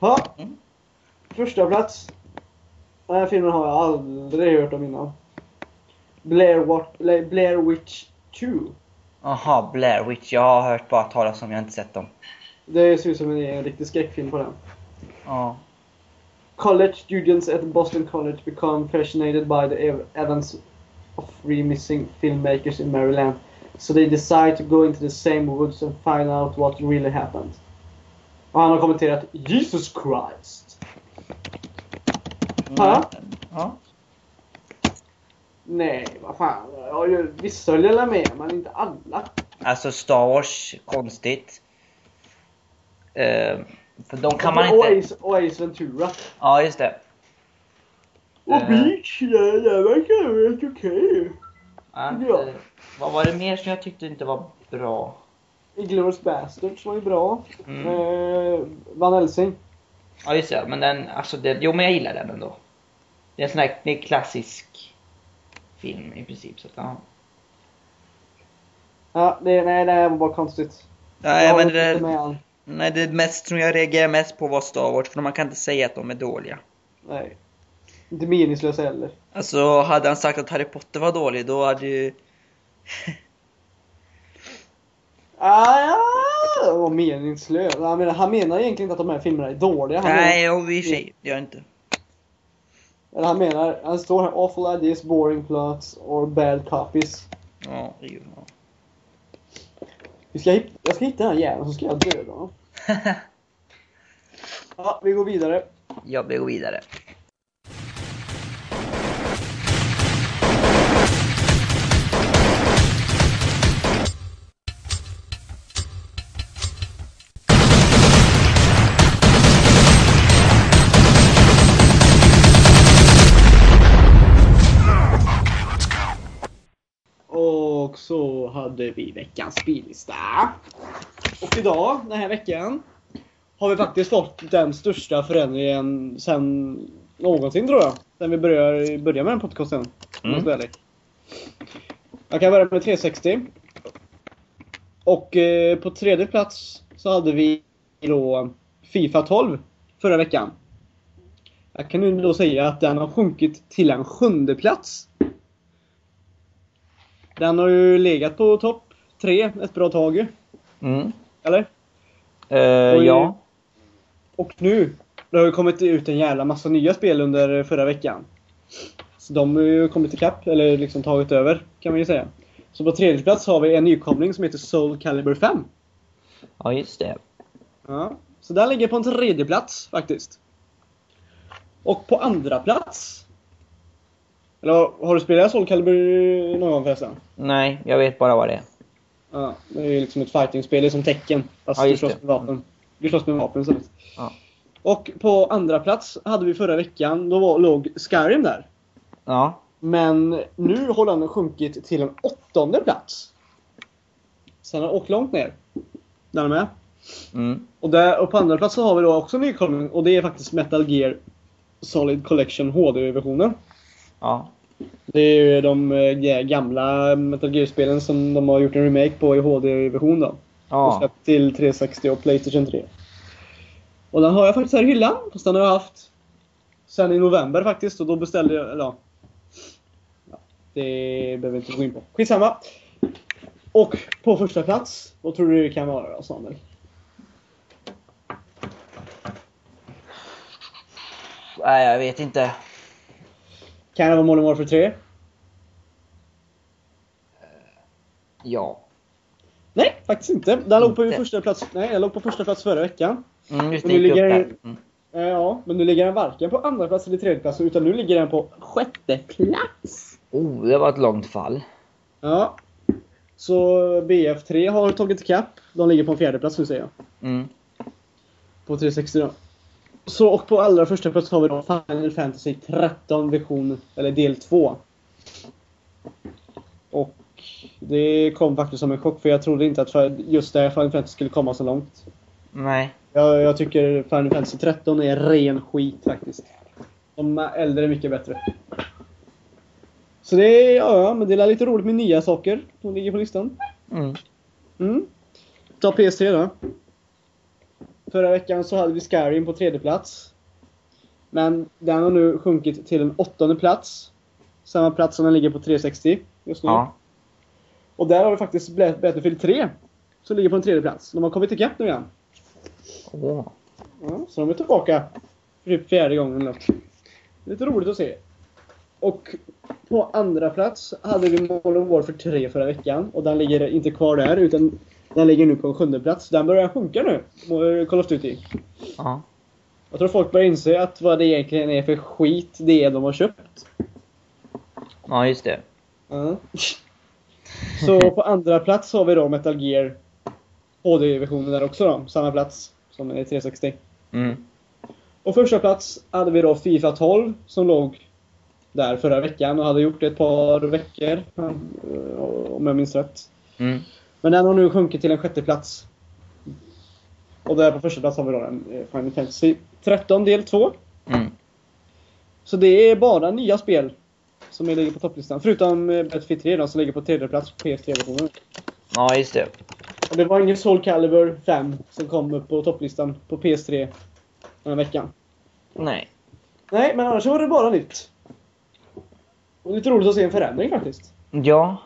Speaker 3: Ja.
Speaker 2: Mm.
Speaker 3: Första plats. Den här filmen har jag aldrig hört om innan. Blair, Wat- eller Blair Witch 2.
Speaker 2: Aha, Blair Witch. Jag har hört bara talas om, jag har inte sett dem.
Speaker 3: Det ser ut som en, en riktig skräckfilm på den.
Speaker 2: Ja.
Speaker 3: College students at Boston College become fascinated by the ev- events of three missing filmmakers in Maryland. So they decide to go into the same woods and find out what really happened. Och han har kommenterat Jesus Christ.
Speaker 2: Mm.
Speaker 3: Ja.
Speaker 2: Ja.
Speaker 3: Nej, vad fan. Ja, ju- Vissa höll jag med, men inte alla.
Speaker 2: Alltså Star Wars, konstigt. Eh, för de kan man
Speaker 3: och,
Speaker 2: inte... Eh.
Speaker 3: Ace, och Ace Ventura.
Speaker 2: Ja, just det.
Speaker 3: Och
Speaker 2: Eh.
Speaker 3: Beach, det där verkar helt okej.
Speaker 2: Ja,
Speaker 3: Ja.
Speaker 2: eh, Vad var det mer som jag tyckte inte var bra?
Speaker 3: Inglourious Basterds var ju bra.
Speaker 2: Mm.
Speaker 3: Eh, Van Helsing.
Speaker 2: Ja just det, men den, alltså det, jo men jag gillar den ändå. Det är en sån här det är en klassisk film i princip. Så att, ja.
Speaker 3: Ja, det, nej, det här var bara konstigt.
Speaker 2: Nej,
Speaker 3: jag
Speaker 2: men
Speaker 3: håller
Speaker 2: det-
Speaker 3: inte med alls.
Speaker 2: Nej det mest som jag reagerar mest på var Star Wars, för man kan inte säga att de är dåliga.
Speaker 3: Nej. Inte meningslösa heller.
Speaker 2: Alltså hade han sagt att Harry Potter var dålig då hade ju...
Speaker 3: Ah, ja, det var meningslös. Han menar, han menar egentligen inte att de här filmerna är dåliga. Han
Speaker 2: Nej, och i och för sig, det gör jag inte.
Speaker 3: Menar, eller han menar, han står här, awful ideas, boring plots or bad copies.
Speaker 2: Ja, det är ju- ja.
Speaker 3: Vi ska, hit- jag ska hitta den här jäveln så ska jag döda honom. Ja, vi går vidare.
Speaker 2: jag vill gå vidare.
Speaker 3: hade vi veckans spellista. Och idag, den här veckan, har vi faktiskt fått den största förändringen sen någonsin tror jag. Sen vi började, började med den podcasten. om jag
Speaker 2: Mm.
Speaker 3: ska vara ärlig. Jag kan börja med 360. Och eh, på tredje plats så hade vi då Fifa 12 förra veckan. Jag kan nu då säga att den har sjunkit till en sjunde plats. Den har ju legat på topp tre ett bra tag ju,
Speaker 2: Mm.
Speaker 3: eller?
Speaker 2: Eh,
Speaker 3: Oj.
Speaker 2: ja.
Speaker 3: Och nu, det har ju kommit ut en jävla massa nya spel under förra veckan. Så de har ju kommit ikapp, eller liksom tagit över, kan man ju säga. Så på tredje plats har vi en nykomling som heter Soul Calibur 5.
Speaker 2: ja, just det.
Speaker 3: Ja. Så den ligger på en tredje plats faktiskt. Och på andra plats... Eller har- har du spelat Soul Calibur någon gång förresten?
Speaker 2: Nej, jag vet bara vad det är.
Speaker 3: Ja, det är ju liksom ett fightingspel, det är som tecken. Fast
Speaker 2: Ja,
Speaker 3: du
Speaker 2: just
Speaker 3: slåss
Speaker 2: det.
Speaker 3: med vapen. Du slåss med vapen istället.
Speaker 2: Ja.
Speaker 3: Och på andra plats hade vi förra veckan, då var, låg Skyrim där.
Speaker 2: Ja.
Speaker 3: Men nu har den sjunkit till en åttonde plats. Sen har den åkt långt ner. Där är med.
Speaker 2: Mm.
Speaker 3: Och, där, och på andra plats så har vi då också en nykomling och det är faktiskt Metal Gear Solid Collection HD-versionen.
Speaker 2: Ja.
Speaker 3: Det är ju de eh, gamla Metal Gear-spelen som de har gjort en remake på i HD-version då. Och
Speaker 2: Ja.
Speaker 3: släppt till 360 och Playstation 3. Och den har jag faktiskt här i hyllan. Fast den har jag haft sen i november faktiskt. Och då beställde jag... Eller, ja. Ja, det behöver jag inte gå in på. Skitsamma. Och på första plats, vad tror du det kan vara då, Samuel?
Speaker 2: Nej, jag vet inte.
Speaker 3: Kan det vara Modern Warfare 3?
Speaker 2: Ja.
Speaker 3: Nej, faktiskt inte. Den låg på
Speaker 2: Inte.
Speaker 3: första plats, nej, den låg på första plats förra veckan.
Speaker 2: Mm, just
Speaker 3: Men
Speaker 2: det,
Speaker 3: nu
Speaker 2: gick upp
Speaker 3: ligger-
Speaker 2: där. Mm.
Speaker 3: Eh, Ja, men nu ligger den varken på andra plats eller tredje plats utan nu ligger den på sjätte plats.
Speaker 2: Oh, det var ett långt fall.
Speaker 3: Ja. Så BF3 har tagit ikapp. De ligger på en fjärde plats nu säger jag.
Speaker 2: Mm.
Speaker 3: På 360 då. Så och på allra första plats har vi då Final Fantasy 13 version, eller del 2. Och det kom faktiskt som en chock för jag trodde inte att för- just det här Final Fantasy skulle komma så långt.
Speaker 2: Nej.
Speaker 3: Jag, jag tycker Final Fantasy 13 är ren skit faktiskt. De äldre är mycket bättre. Så det är, ja, ja, men det är lite roligt med nya saker som ligger på listan.
Speaker 2: Mm.
Speaker 3: Mm. Ta PS3 då. Förra veckan så hade vi Skyrim på tredje plats. Men den har nu sjunkit till en åttonde plats. Samma plats som den ligger på 360 just nu.
Speaker 2: Ja.
Speaker 3: Och där har vi faktiskt Bla- Battlefield 3. Som ligger på en tredje plats. De har kommit ikapp nu igen.
Speaker 2: Åh.
Speaker 3: Ja, så de är tillbaka. för Typ fjärde gången eller något. Lite roligt att se. Och på andra plats hade vi Modern Warfare 3 förra veckan. Och den ligger inte kvar där utan den ligger nu på en sjunde plats. Den börjar sjunka nu. eh, Call of Duty.
Speaker 2: Ja.
Speaker 3: Jag tror folk börjar inse att vad det egentligen är för skit det är de har köpt.
Speaker 2: ja, just det.
Speaker 3: Ja. Så på andra plats har vi då Metal Gear HD-versionen där också då. Samma plats som är 360.
Speaker 2: Mm.
Speaker 3: Och första plats hade vi då Fifa 12 som låg där förra veckan och hade gjort det ett par veckor. eh, Om jag minns rätt.
Speaker 2: Mm.
Speaker 3: Men den har nu sjunkit till en sjätte plats. Och där på första plats har vi då en eh, Final Fantasy 13 del 2.
Speaker 2: Mm.
Speaker 3: Så det är bara nya spel som ligger på topplistan. Förutom eh, Battlefield 3 då, som ligger på tredje plats på PS3-versionen.
Speaker 2: Ja, just det.
Speaker 3: Och det var ingen Soul Calibur 5 som kom upp på topplistan på PS3 den här veckan.
Speaker 2: Nej.
Speaker 3: Nej, men annars var det bara nytt. Och lite roligt att se en förändring faktiskt.
Speaker 2: Ja.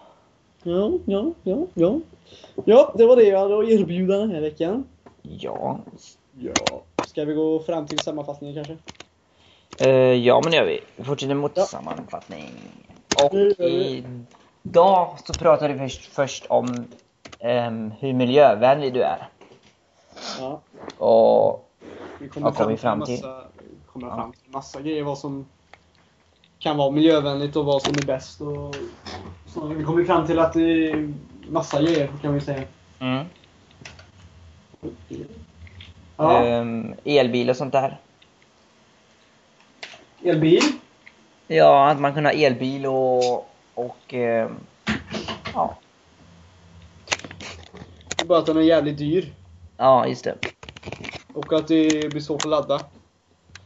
Speaker 3: Ja, ja, ja, ja. Ja, det var det jag hade att erbjuda den här veckan.
Speaker 2: Ja.
Speaker 3: Ja. Ska vi gå fram till sammanfattningen kanske?
Speaker 2: Eh, ja, men det gör vi. Vi fortsätter mot
Speaker 3: Ja.
Speaker 2: sammanfattning. Och
Speaker 3: Nu gör vi.
Speaker 2: idag så pratar vi först, först om ehm, hur miljövänlig du är.
Speaker 3: Ja.
Speaker 2: Och
Speaker 3: Vi
Speaker 2: Vad kom vi fram till?
Speaker 3: massa, kommer
Speaker 2: Ja.
Speaker 3: fram till massa grejer. Vad som kan vara miljövänligt och vad som är bäst. Och, så vi kommer fram till att det är massa grejer kan vi säga.
Speaker 2: mm,
Speaker 3: Ja,
Speaker 2: ehm, elbil och sånt där.
Speaker 3: elbil.
Speaker 2: Ja, att man kunde ha elbil och, och ehm, ja.
Speaker 4: bara att den är jävligt dyr.
Speaker 2: Ja, just det.
Speaker 4: Och att det blir svårt att ladda.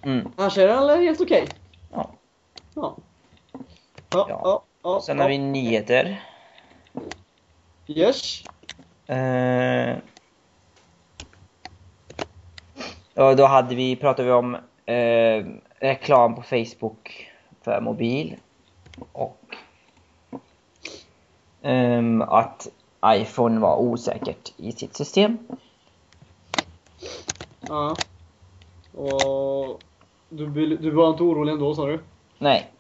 Speaker 2: Mm.
Speaker 4: Annars är den helt okej.
Speaker 2: Ja.
Speaker 4: Ja. Ja,
Speaker 2: Ja.
Speaker 4: ja, ja.
Speaker 2: Sen
Speaker 4: ja.
Speaker 2: har vi nyheter.
Speaker 4: Yes.
Speaker 2: Eh, ja, då hade vi, pratade vi om eh, reklam på Facebook för mobil. Och ehm, att iPhone var osäkert i sitt system.
Speaker 4: Ja. Och du, vill- du var inte orolig ändå sa du?
Speaker 2: Nej,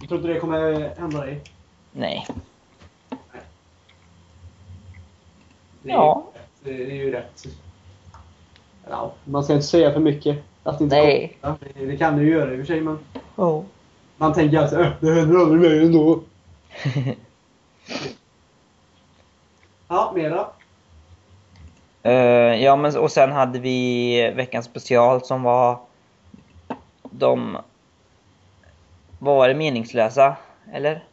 Speaker 3: Jag tror inte det kommer hända dig.
Speaker 2: nej.
Speaker 3: Det är
Speaker 2: Ja.
Speaker 3: ju rätt. Det är ju rätt. Ja,
Speaker 4: Man ska inte säga för mycket. Att det inte
Speaker 2: Nej.
Speaker 3: ja, det- det kan du ju göra i och för sig, men
Speaker 2: Oh.
Speaker 3: man tänker att äh, det händer
Speaker 4: kommer.
Speaker 3: aldrig
Speaker 4: Det
Speaker 3: mer.
Speaker 4: är ju ändå.
Speaker 3: Ja, mera.
Speaker 2: Eh, ja men och sen hade vi veckans special som var de vad var det meningslösa eller?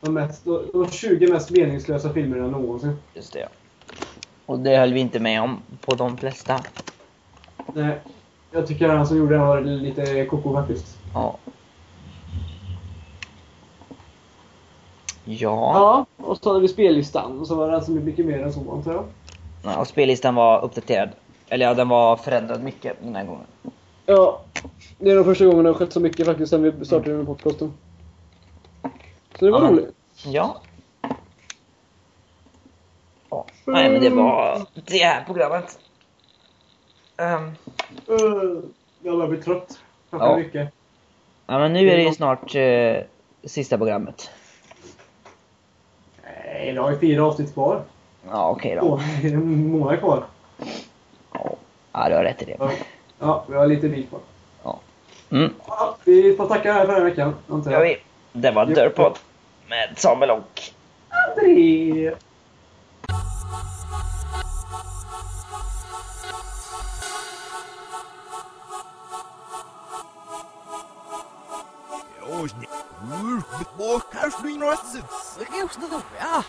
Speaker 3: De, mest, de 20 mest meningslösa filmerna någonsin.
Speaker 2: Just det. Och det höll vi inte med om på de flesta.
Speaker 3: Nej, Eh, jag tycker han som gjorde den var lite koko faktiskt.
Speaker 2: Ja. Ja.
Speaker 4: Ja.
Speaker 3: Och så hade vi spellistan och så var det alltså mycket mer än så antar jag.
Speaker 2: ja. Och spellistan var uppdaterad. Eller ja, den var förändrad mycket den här gången.
Speaker 4: ja. Det är nog första gången det har skett så mycket faktiskt sen vi startade den här podcasten. Så det var
Speaker 2: Ja.
Speaker 4: roligt.
Speaker 2: Ja. ja. Nej men det var det här programmet. Ehm,
Speaker 3: Uh, jag börjar bli trött. Klockan
Speaker 2: Ja.
Speaker 3: är mycket.
Speaker 2: ja men nu är det ju snart eh, sista programmet.
Speaker 3: Nej, det har ju fyra avsnitt kvar.
Speaker 2: Ja okej då.
Speaker 3: Två, en månad kvar.
Speaker 2: Ja du har rätt i det.
Speaker 3: Ja, ja vi har lite bit kvar.
Speaker 2: Mm,
Speaker 3: Ja, vi får tacka här för den här veckan antar
Speaker 2: det har
Speaker 3: jag.
Speaker 2: vi. Det var Dörrpodd med Samuel och
Speaker 3: André!
Speaker 1: Ой, не- Ух, бог, каждый раз, конечно, да.